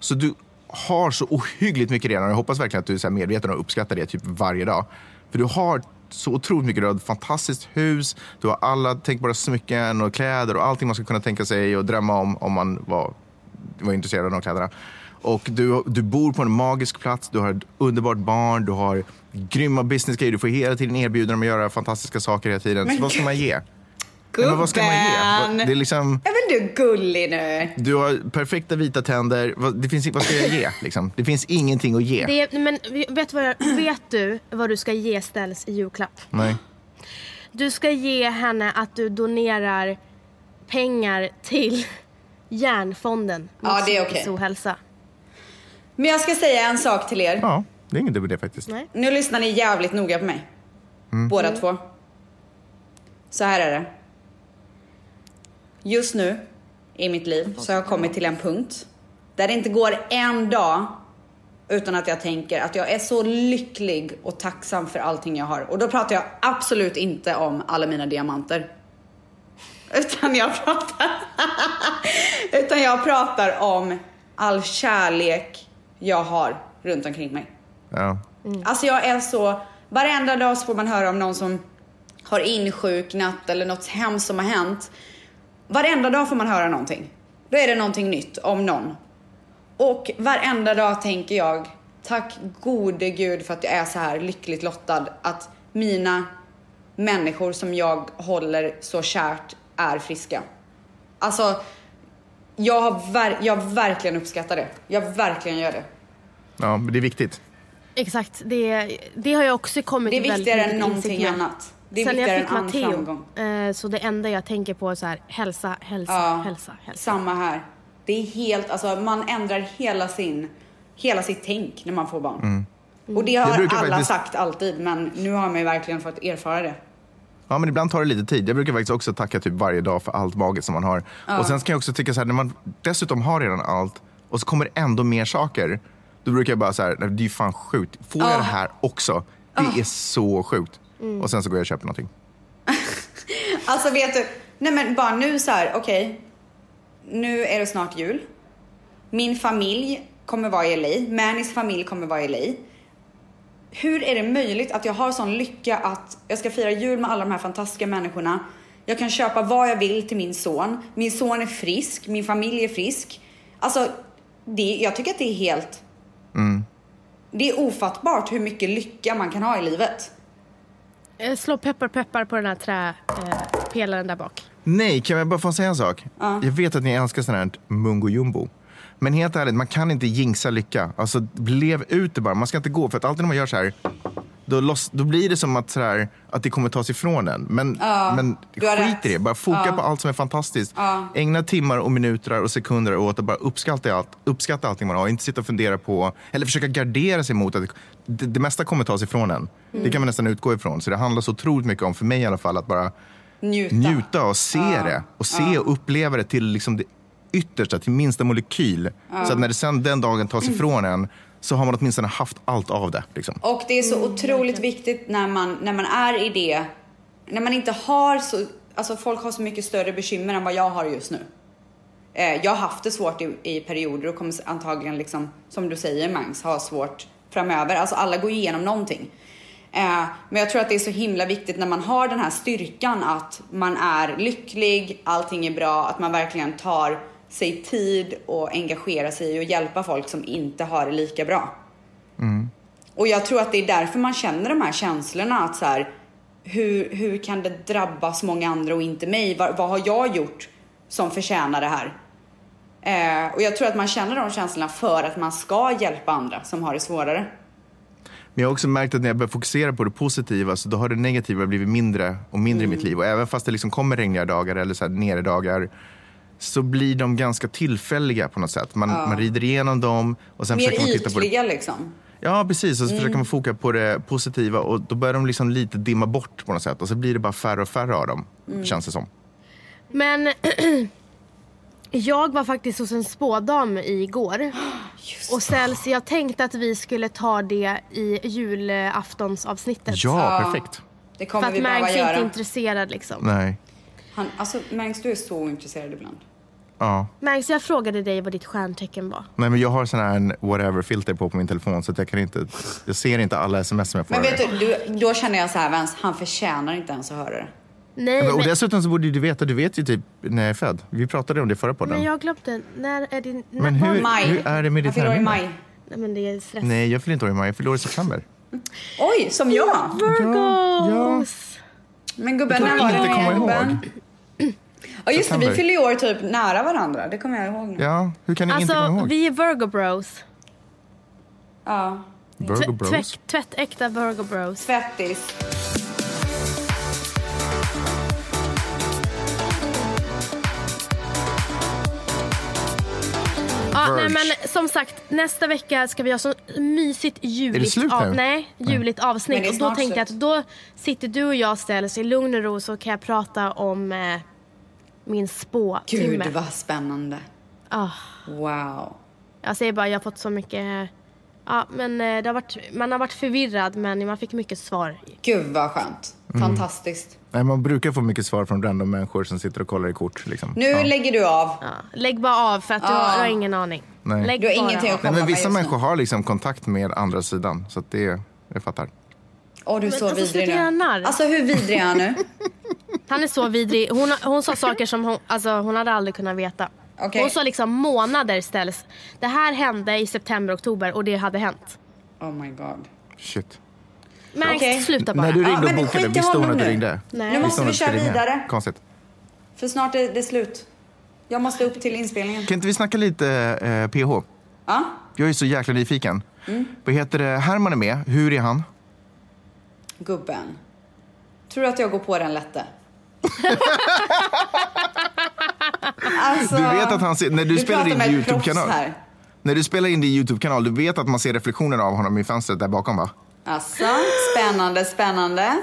[SPEAKER 2] så du har så ohyggligt mycket redan. Jag hoppas verkligen att du är så här medveten och uppskattar det typ varje dag. För du har så otroligt mycket. Du har ett fantastiskt hus, du har alla tänkbara smycken och kläder och allting man ska kunna tänka sig och drömma om om man var, var intresserad av de kläderna. Och du, du bor på en magisk plats, du har ett underbart barn, du har grymma businessgrejer, du får hela tiden erbjudanden om att göra fantastiska saker hela tiden.
[SPEAKER 3] Men
[SPEAKER 2] så vad ska
[SPEAKER 3] gud.
[SPEAKER 2] man ge? Nej, men vad ska man ge? Vad-
[SPEAKER 3] Gubben!
[SPEAKER 2] Det är liksom...
[SPEAKER 3] Är väl du gullig nu?
[SPEAKER 2] Du har perfekta vita tänder. Vad, det finns, vad ska jag ge? Liksom? Det finns ingenting att ge.
[SPEAKER 1] Det är, men vet, du vad jag, vet du vad du ska ge Ställs i julklapp?
[SPEAKER 2] Nej.
[SPEAKER 1] Du ska ge henne att du donerar pengar till Hjärnfonden
[SPEAKER 3] Ja, det är okej.
[SPEAKER 1] psykisk ohälsa.
[SPEAKER 3] Men jag ska säga en sak till er.
[SPEAKER 2] Ja, det är ingen dum idé faktiskt.
[SPEAKER 1] Nej.
[SPEAKER 3] Nu lyssnar ni jävligt noga på mig. Båda två. Så här är det. Just nu i mitt liv så har jag kommit till en punkt där det inte går en dag utan att jag tänker att jag är så lycklig och tacksam för allting jag har. Och då pratar jag absolut inte om alla mina diamanter. Utan jag pratar, utan jag pratar om all kärlek jag har runt omkring mig.
[SPEAKER 2] Ja.
[SPEAKER 3] Alltså jag är så, varenda dag så får man höra om någon som har insjuknat eller något hemskt som har hänt. Varenda dag får man höra någonting. Då är det någonting nytt om någon. Och varenda dag tänker jag, tack gode gud för att jag är så här lyckligt lottad att mina människor som jag håller så kärt är friska. Alltså, jag, har ver- jag verkligen uppskattar det. Jag verkligen gör det.
[SPEAKER 2] ja, men det är viktigt.
[SPEAKER 1] Exakt, det, det har jag också kommit
[SPEAKER 3] Det är
[SPEAKER 1] till väldigt
[SPEAKER 3] viktigare
[SPEAKER 1] mycket
[SPEAKER 3] än någonting
[SPEAKER 1] insikt med.
[SPEAKER 3] annat. Det är
[SPEAKER 1] Sen
[SPEAKER 3] viktigare
[SPEAKER 1] jag
[SPEAKER 3] än
[SPEAKER 1] fick
[SPEAKER 3] all
[SPEAKER 1] Matteo,
[SPEAKER 3] framgång.
[SPEAKER 1] eh, så det enda jag tänker på är så här, hälsa, hälsa, hälsa, hälsa.
[SPEAKER 3] Samma här. Det är helt, alltså man ändrar hela sin, hela sitt tänk när man får barn. Och det har
[SPEAKER 2] Mm. brukar
[SPEAKER 3] alla
[SPEAKER 2] faktiskt-
[SPEAKER 3] sagt alltid, men nu har man ju verkligen fått erfara det.
[SPEAKER 2] Ja, men ibland tar det lite tid. Jag brukar faktiskt också tacka typ varje dag för allt magiskt som man har. Och sen kan jag också tycka så här, när man dessutom har redan allt och så kommer ändå mer saker. Då brukar jag bara så här, nej, det är ju fan sjukt. Får jag det här också? Det är så sjukt.
[SPEAKER 1] Mm.
[SPEAKER 2] Och sen så går jag och köper någonting.
[SPEAKER 3] Alltså vet du, nej men bara nu så här, okej. nu är det snart jul. Min familj kommer vara i LA. Manis familj kommer vara i LA. Hur är det möjligt att jag har sån lycka att jag ska fira jul med alla de här fantastiska människorna. Jag kan köpa vad jag vill till min son. Min son är frisk. Min familj är frisk. Alltså, det, jag tycker att det är helt... Det är ofattbart hur mycket lycka man kan ha i livet.
[SPEAKER 1] Eh, Slå peppar peppar på den här träpelaren eh, pelaren där bak.
[SPEAKER 2] Nej, kan jag bara få säga en sak? Jag vet att ni älskar sånt här mungo jumbo. Men helt ärligt, man kan inte jinxa lycka. Alltså, lev ut det bara. Man ska inte gå, för att alltid när man gör så här, då då, loss, då blir det som att, så här, att det kommer tas ifrån en. Men, men
[SPEAKER 3] du har
[SPEAKER 2] skit
[SPEAKER 3] rätt.
[SPEAKER 2] i det. Bara foka på allt som är fantastiskt. Ägna timmar och minuter och sekunder åt att bara uppskatta, allt, uppskatta allting man har. Inte sitta och fundera på, eller försöka gardera sig mot att det, det mesta kommer tas ifrån en. Det
[SPEAKER 3] Mm.
[SPEAKER 2] kan man nästan utgå ifrån. Så det handlar så otroligt mycket om, för mig i alla fall, att bara
[SPEAKER 3] Njuta.
[SPEAKER 2] njuta och se det. Och se och uppleva det till liksom det yttersta, till minsta molekyl. Så att när det sen den dagen tas ifrån en så har man åtminstone haft allt av det. Liksom.
[SPEAKER 3] Och det är så otroligt viktigt när man, när man är i det, när man inte har så, alltså folk har så mycket större bekymmer än vad jag har just nu. Eh, jag har haft det svårt i, i perioder och kommer antagligen liksom, som du säger Mangs, ha svårt framöver. Alltså alla går ju igenom någonting. Eh, men jag tror att det är så himla viktigt när man har den här styrkan att man är lycklig, allting är bra, att man verkligen tar sig tid och engagerar sig och hjälpa folk som inte har det lika bra. Och jag tror att det är därför man känner de här känslorna att så här, hur, hur kan det drabba så många andra och inte mig? Vad, vad har jag gjort som förtjänar det här? Eh, och jag tror att man känner de känslorna för att man ska hjälpa andra som har det svårare.
[SPEAKER 2] Men jag har också märkt att när jag börjar fokusera på det positiva så då har det negativa blivit mindre och mindre i mitt liv. Och även fast det liksom kommer regniga dagar eller så här nere-dagar så blir de ganska tillfälliga på något sätt. Man, man rider igenom dem och sen
[SPEAKER 3] Mer
[SPEAKER 2] försöker man titta på det
[SPEAKER 3] ytliga liksom.
[SPEAKER 2] Ja, precis. Och så försöker man foka på det positiva och då börjar de liksom lite dimma bort på något sätt. Och så blir det bara färre och färre av dem, känns det som.
[SPEAKER 1] Men jag var faktiskt hos en spådam igår. Och Cels, jag tänkte att vi skulle ta det i julaftonsavsnittet.
[SPEAKER 2] Ja, perfekt.
[SPEAKER 3] Det
[SPEAKER 1] För
[SPEAKER 3] kommer
[SPEAKER 1] att
[SPEAKER 3] vi behöva
[SPEAKER 1] Mangs är
[SPEAKER 3] göra.
[SPEAKER 1] inte intresserad liksom.
[SPEAKER 2] Nej.
[SPEAKER 3] Han, alltså Mangs, du är så intresserad ibland.
[SPEAKER 2] Ja.
[SPEAKER 1] Mangs, jag frågade dig vad ditt stjärntecken var.
[SPEAKER 2] Nej, men jag har sån här en whatever-filter på på min telefon så att jag, kan inte, jag ser inte alla sms som jag får.
[SPEAKER 3] Men vet du, du då känner jag så här Vens, han förtjänar inte ens att höra det.
[SPEAKER 1] Nej,
[SPEAKER 2] Men- Och
[SPEAKER 1] men,
[SPEAKER 2] dessutom så borde ju du veta, du vet ju typ när jag är född. Vi pratade om det i förra podden.
[SPEAKER 1] men jag glömde. När är din... När
[SPEAKER 2] Men
[SPEAKER 1] var-
[SPEAKER 2] hur,
[SPEAKER 3] Maj.
[SPEAKER 2] hur är det med
[SPEAKER 3] Han
[SPEAKER 2] ditt
[SPEAKER 3] fyller år i
[SPEAKER 2] terminer?
[SPEAKER 3] maj.
[SPEAKER 1] Nej, men det är stress.
[SPEAKER 2] Nej, jag fyller inte år i maj. Jag fyller år i september.
[SPEAKER 3] Oj, som jag!
[SPEAKER 1] Virgos!
[SPEAKER 3] Men gubben,
[SPEAKER 2] Jag
[SPEAKER 3] när
[SPEAKER 2] kan
[SPEAKER 3] var det
[SPEAKER 2] inte komma
[SPEAKER 3] gubben?
[SPEAKER 2] ihåg.
[SPEAKER 3] Ja just det, vi
[SPEAKER 2] September.
[SPEAKER 3] fyller ju år typ nära varandra. Det kommer jag ihåg nu.
[SPEAKER 2] Ja, hur kan ni inte komma
[SPEAKER 1] Alltså,
[SPEAKER 2] ihåg?
[SPEAKER 1] vi är Virgo bros.
[SPEAKER 3] Ja.
[SPEAKER 1] Tv-
[SPEAKER 2] Virgo bros.
[SPEAKER 1] tvätt- Tvättäkta Virgo bros.
[SPEAKER 3] Tvättis.
[SPEAKER 1] Ja, nej,
[SPEAKER 2] Verge.
[SPEAKER 1] men som sagt, nästa vecka ska vi ha så mysigt juligt,
[SPEAKER 2] slut nu?
[SPEAKER 1] nej, juligt
[SPEAKER 3] Men det
[SPEAKER 1] avsnitt.
[SPEAKER 3] är
[SPEAKER 1] Och då
[SPEAKER 3] snart
[SPEAKER 1] tänkte jag att
[SPEAKER 3] slut.
[SPEAKER 1] då sitter du och jag ställs i lugn och ro så kan jag prata om eh, min spåtimme.
[SPEAKER 3] Gud vad spännande.
[SPEAKER 1] Ah,
[SPEAKER 3] Wow.
[SPEAKER 1] jag säger bara, jag har fått så mycket... Ja, men eh, det har varit, man har varit förvirrad men man fick mycket svar.
[SPEAKER 3] Gud vad skönt.
[SPEAKER 2] Mm.
[SPEAKER 3] Fantastiskt.
[SPEAKER 2] Nej, man brukar få mycket svar från random människor som sitter och kollar i kort. Liksom.
[SPEAKER 3] Nu
[SPEAKER 2] Ja.
[SPEAKER 3] lägger du av.
[SPEAKER 1] Ja, lägg bara av för att du, har, du har ingen aning.
[SPEAKER 2] Nej.
[SPEAKER 1] Lägg
[SPEAKER 3] Du har
[SPEAKER 1] bara
[SPEAKER 3] ingenting
[SPEAKER 1] av.
[SPEAKER 3] att
[SPEAKER 2] Nej,
[SPEAKER 3] kolla
[SPEAKER 2] men
[SPEAKER 3] på
[SPEAKER 2] vissa
[SPEAKER 3] just nu.
[SPEAKER 2] människor har liksom kontakt med andra sidan. Så att det, jag fattar.
[SPEAKER 3] Åh du är
[SPEAKER 1] Men
[SPEAKER 3] så
[SPEAKER 1] alltså,
[SPEAKER 3] vidrig
[SPEAKER 1] sluta göra
[SPEAKER 3] nu.
[SPEAKER 1] narr.
[SPEAKER 3] Alltså hur vidrig är han nu?
[SPEAKER 1] Han är så vidrig. Hon, hon sa saker som hon, alltså, hon hade aldrig kunnat veta.
[SPEAKER 3] Okej.
[SPEAKER 1] Hon sa liksom månader ställs. Det här hände i september, oktober och det hade hänt.
[SPEAKER 3] Oh my god.
[SPEAKER 2] Shit.
[SPEAKER 1] Men
[SPEAKER 3] Okej.
[SPEAKER 1] sluta bara.
[SPEAKER 2] När du
[SPEAKER 3] Ja,
[SPEAKER 2] ringde och
[SPEAKER 3] men
[SPEAKER 2] bokade,
[SPEAKER 3] skit i
[SPEAKER 2] visste hon
[SPEAKER 3] honom
[SPEAKER 2] att du
[SPEAKER 3] nu.
[SPEAKER 2] ringde?
[SPEAKER 1] Nej.
[SPEAKER 3] Nu
[SPEAKER 1] Visste
[SPEAKER 3] måste
[SPEAKER 2] hon
[SPEAKER 3] vi
[SPEAKER 2] att du
[SPEAKER 3] köra
[SPEAKER 2] skulle ringa?
[SPEAKER 3] vidare.
[SPEAKER 2] Konstigt.
[SPEAKER 3] För snart är det slut. Jag måste upp till inspelningen.
[SPEAKER 2] Kan inte vi snacka lite eh, PH?
[SPEAKER 3] Ja.
[SPEAKER 2] Jag är så jäkla nyfiken.
[SPEAKER 3] Mm.
[SPEAKER 2] Vad heter det? Herman är med. Hur är han?
[SPEAKER 3] Gubben. Tror du att jag går på den lätte? alltså,
[SPEAKER 2] Du vet att han ser- när du spelar
[SPEAKER 3] pratar
[SPEAKER 2] in
[SPEAKER 3] med ett proffs
[SPEAKER 2] YouTube-kanal.
[SPEAKER 3] här.
[SPEAKER 2] När du spelar in din YouTube-kanal, du vet att man ser reflektionen av honom i fönstret där bakom va?
[SPEAKER 3] Alltså, spännande, spännande.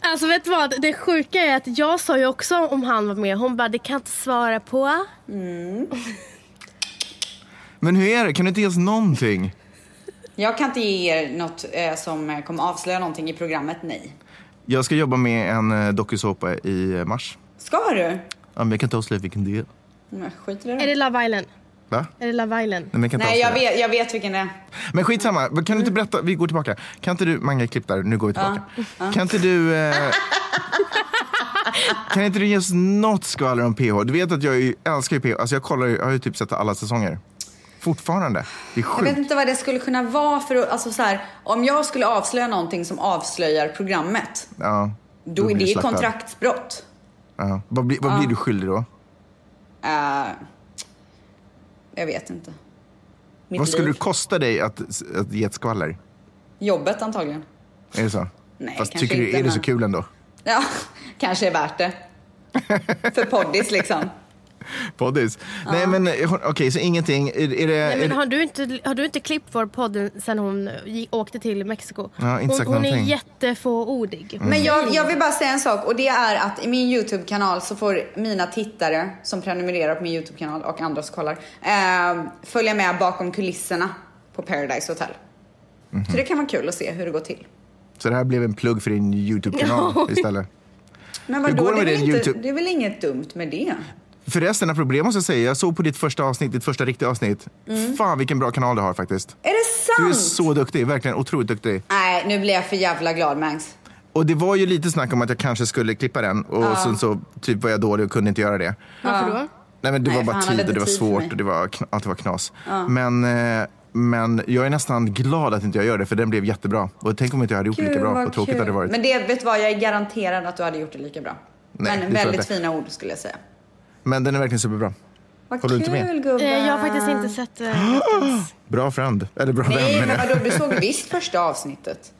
[SPEAKER 1] Alltså vet du vad, det sjuka är att jag sa ju också om han var med. Hon bara, det kan jag inte svara på.
[SPEAKER 2] Men hur är det? Kan du inte ge oss någonting?
[SPEAKER 3] Jag kan inte ge er något eh, som eh, kommer avslöja någonting i programmet, nej.
[SPEAKER 2] Jag ska jobba med en eh, dokusåpa i eh, mars.
[SPEAKER 3] Ska du?
[SPEAKER 2] Ja, men jag kan inte avslöja vilken det är.
[SPEAKER 3] Men skit i det
[SPEAKER 1] Är
[SPEAKER 3] då.
[SPEAKER 1] det Love Island?
[SPEAKER 2] Va?
[SPEAKER 1] Är det Love Island?
[SPEAKER 2] Nej, men jag kan inte
[SPEAKER 3] Nej, jag
[SPEAKER 2] avslöja.
[SPEAKER 3] vet, jag vet vilken det är.
[SPEAKER 2] Men skitsamma, kan du inte berätta, vi går tillbaka. Kan inte du, Mange klipp där, nu går vi tillbaka. Kan inte du... Eh, kan inte du ge oss något skvaller om PH? Du vet att jag ju- älskar ju PH, alltså jag kollar ju, jag har ju typ sett alla säsonger. Fortfarande. Det är
[SPEAKER 3] Jag vet
[SPEAKER 2] sjukt.
[SPEAKER 3] inte vad det skulle kunna vara för att, alltså så här, om jag skulle avslöja någonting som avslöjar programmet,
[SPEAKER 2] Ja,
[SPEAKER 3] då är
[SPEAKER 2] blir du
[SPEAKER 3] det
[SPEAKER 2] slaktad.
[SPEAKER 3] kontraktsbrott.
[SPEAKER 2] Ja. Vad, blir- vad blir du skyldig då?
[SPEAKER 3] Eh, jag vet inte. Mitt
[SPEAKER 2] Vad skulle
[SPEAKER 3] liv.
[SPEAKER 2] det kosta dig att, att ge ett skvaller?
[SPEAKER 3] Jobbet antagligen.
[SPEAKER 2] Är det så?
[SPEAKER 3] Nej,
[SPEAKER 2] Fast
[SPEAKER 3] kanske
[SPEAKER 2] tycker du,
[SPEAKER 3] inte,
[SPEAKER 2] är det
[SPEAKER 3] men-
[SPEAKER 2] så kul ändå?
[SPEAKER 3] Ja, kanske är värt det. För poddis liksom.
[SPEAKER 2] Mm. Poddis. Nej men eh, hon- okej, så ingenting. Är, är det,
[SPEAKER 1] Nej, men
[SPEAKER 2] är,
[SPEAKER 1] har, du inte, har du inte klippt vår podd sen hon gi- åkte till Mexiko?
[SPEAKER 2] Ja, inte sagt
[SPEAKER 1] hon, hon är
[SPEAKER 2] någonting. Mm.
[SPEAKER 1] jättefåordig.
[SPEAKER 3] Men jag, jag vill bara säga en sak och det är att i min YouTube-kanal så får mina tittare som prenumererar på min YouTube-kanal och andra som kollar eh, följa med bakom kulisserna på Paradise Hotel.
[SPEAKER 2] Mhm.
[SPEAKER 3] Så det kan vara kul att se hur det går till.
[SPEAKER 2] så det här blev en plugg för din YouTube-kanal
[SPEAKER 1] Ja.
[SPEAKER 2] istället?
[SPEAKER 3] Men
[SPEAKER 2] går
[SPEAKER 3] vadå,
[SPEAKER 2] det
[SPEAKER 3] det,
[SPEAKER 2] med
[SPEAKER 3] är väl
[SPEAKER 2] din
[SPEAKER 3] inte,
[SPEAKER 2] YouTube?
[SPEAKER 3] det är väl inget dumt med det?
[SPEAKER 2] Förresten, apropå det måste jag säga. Jag såg på ditt första avsnitt, ditt första riktiga avsnitt.
[SPEAKER 3] Mm.
[SPEAKER 2] Fan vilken bra kanal du har faktiskt.
[SPEAKER 3] Är det
[SPEAKER 2] Du är
[SPEAKER 3] sant?
[SPEAKER 2] så duktig, verkligen otroligt duktig.
[SPEAKER 3] Nej, nu blir jag för jävla glad Mangs.
[SPEAKER 2] Och det var ju lite snack om att jag kanske skulle klippa den och sen så typ var jag dålig och kunde inte göra det.
[SPEAKER 1] Varför då?
[SPEAKER 2] Nej men det
[SPEAKER 3] Nej,
[SPEAKER 2] var bara
[SPEAKER 3] fan, han
[SPEAKER 2] tid
[SPEAKER 3] hade
[SPEAKER 2] och det var
[SPEAKER 3] tid för
[SPEAKER 2] svårt
[SPEAKER 3] mig.
[SPEAKER 2] och det var, kn- att det var knas. Men, eh, men jag är nästan glad att inte jag gör det för den blev jättebra. Och tänk om inte jag hade gjort lika bra,
[SPEAKER 3] vad
[SPEAKER 2] vad tråkigt
[SPEAKER 3] kul.
[SPEAKER 2] hade det varit.
[SPEAKER 3] Men det, vet du vad, jag är garanterad att du hade gjort det lika bra.
[SPEAKER 2] Nej, det
[SPEAKER 3] Men
[SPEAKER 2] tror jag
[SPEAKER 3] väldigt
[SPEAKER 2] inte.
[SPEAKER 3] fina ord skulle jag säga.
[SPEAKER 2] Men den är verkligen superbra.
[SPEAKER 3] Vad
[SPEAKER 2] Håller du
[SPEAKER 3] kul
[SPEAKER 2] inte med?
[SPEAKER 3] gubbar.
[SPEAKER 1] Eh, Jag har faktiskt inte sett eh, veckans.
[SPEAKER 2] Bra friend, eller bra vän
[SPEAKER 3] Nej,
[SPEAKER 2] menar
[SPEAKER 3] men
[SPEAKER 2] jag.
[SPEAKER 3] vadå, du såg visst första avsnittet?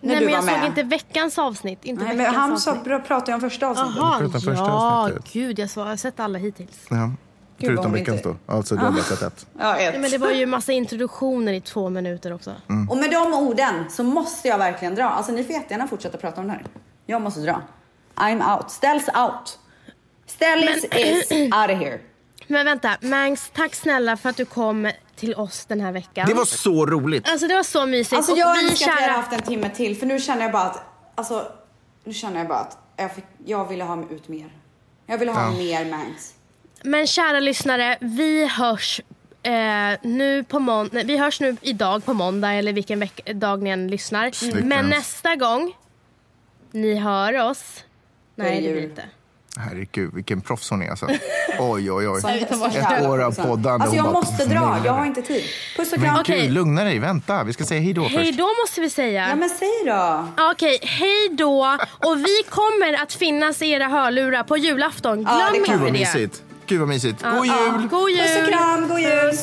[SPEAKER 3] När
[SPEAKER 1] Nej,
[SPEAKER 3] du
[SPEAKER 1] men jag
[SPEAKER 3] var
[SPEAKER 1] såg
[SPEAKER 3] med.
[SPEAKER 1] inte veckans avsnitt. Inte
[SPEAKER 3] Nej, men
[SPEAKER 1] veckans
[SPEAKER 3] han sa,
[SPEAKER 1] avsnitt.
[SPEAKER 3] pratade ju om första avsnittet.
[SPEAKER 1] Jaha,
[SPEAKER 2] Förutom första
[SPEAKER 1] ja,
[SPEAKER 2] avsnittet.
[SPEAKER 1] gud, jag, så, jag har sett alla hittills.
[SPEAKER 2] Ja. Förutom
[SPEAKER 3] hon
[SPEAKER 2] veckans
[SPEAKER 3] inte-
[SPEAKER 2] då. Alltså
[SPEAKER 3] Ah.
[SPEAKER 2] du har bara sett ett.
[SPEAKER 3] Ja, ett.
[SPEAKER 1] Nej, men det var ju massa introduktioner i två minuter också.
[SPEAKER 2] Mm.
[SPEAKER 3] Och med de orden så måste jag verkligen dra. Alltså ni får jättegärna fortsätta prata om det här. Jag måste dra. I'm out. Ställs out. Ställs is out of here.
[SPEAKER 1] Men vänta, Mangs, tack snälla för att du kom till oss den här veckan.
[SPEAKER 2] Det var så roligt.
[SPEAKER 1] Alltså det var så mysigt.
[SPEAKER 3] Alltså
[SPEAKER 1] Och
[SPEAKER 3] jag
[SPEAKER 1] vi
[SPEAKER 3] önskar att vi
[SPEAKER 1] kära-
[SPEAKER 3] hade haft en timme till för nu känner jag bara att, alltså, nu känner jag bara att jag, fick, jag ville ha ut mer. Jag ville ha
[SPEAKER 2] Ja.
[SPEAKER 3] mer Mangs.
[SPEAKER 1] Men kära lyssnare, vi hörs eh, nu på mån- nej, vi hörs nu idag på måndag eller vilken veck- dag ni än lyssnar. Men
[SPEAKER 2] Jens.
[SPEAKER 1] nästa gång ni hör oss...
[SPEAKER 3] är
[SPEAKER 1] Nej, det
[SPEAKER 3] jul.
[SPEAKER 1] blir inte.
[SPEAKER 2] Herregud, vilken proffs hon är alltså. Oj, oj, oj.
[SPEAKER 3] Som- som
[SPEAKER 2] Ett år av
[SPEAKER 3] som-
[SPEAKER 2] poddande.
[SPEAKER 3] Alltså
[SPEAKER 2] hon
[SPEAKER 3] jag
[SPEAKER 2] bara-
[SPEAKER 3] måste dra, jag har inte tid. Puss och kram.
[SPEAKER 2] Men
[SPEAKER 1] Okej.
[SPEAKER 2] gud, lugna dig. Vänta, vi ska säga hej då
[SPEAKER 1] Hej
[SPEAKER 2] först.
[SPEAKER 1] då måste vi säga.
[SPEAKER 3] Ja men säg då.
[SPEAKER 1] Okej, hej då. Och vi kommer att finnas i era hörlurar på julafton. Glöm
[SPEAKER 3] det
[SPEAKER 1] inte
[SPEAKER 3] kommer
[SPEAKER 2] Gud
[SPEAKER 1] det.
[SPEAKER 2] vad mysigt. Gud vad mysigt. God
[SPEAKER 1] Ja,
[SPEAKER 2] jul!
[SPEAKER 1] God jul!
[SPEAKER 3] Puss och kram, god jul.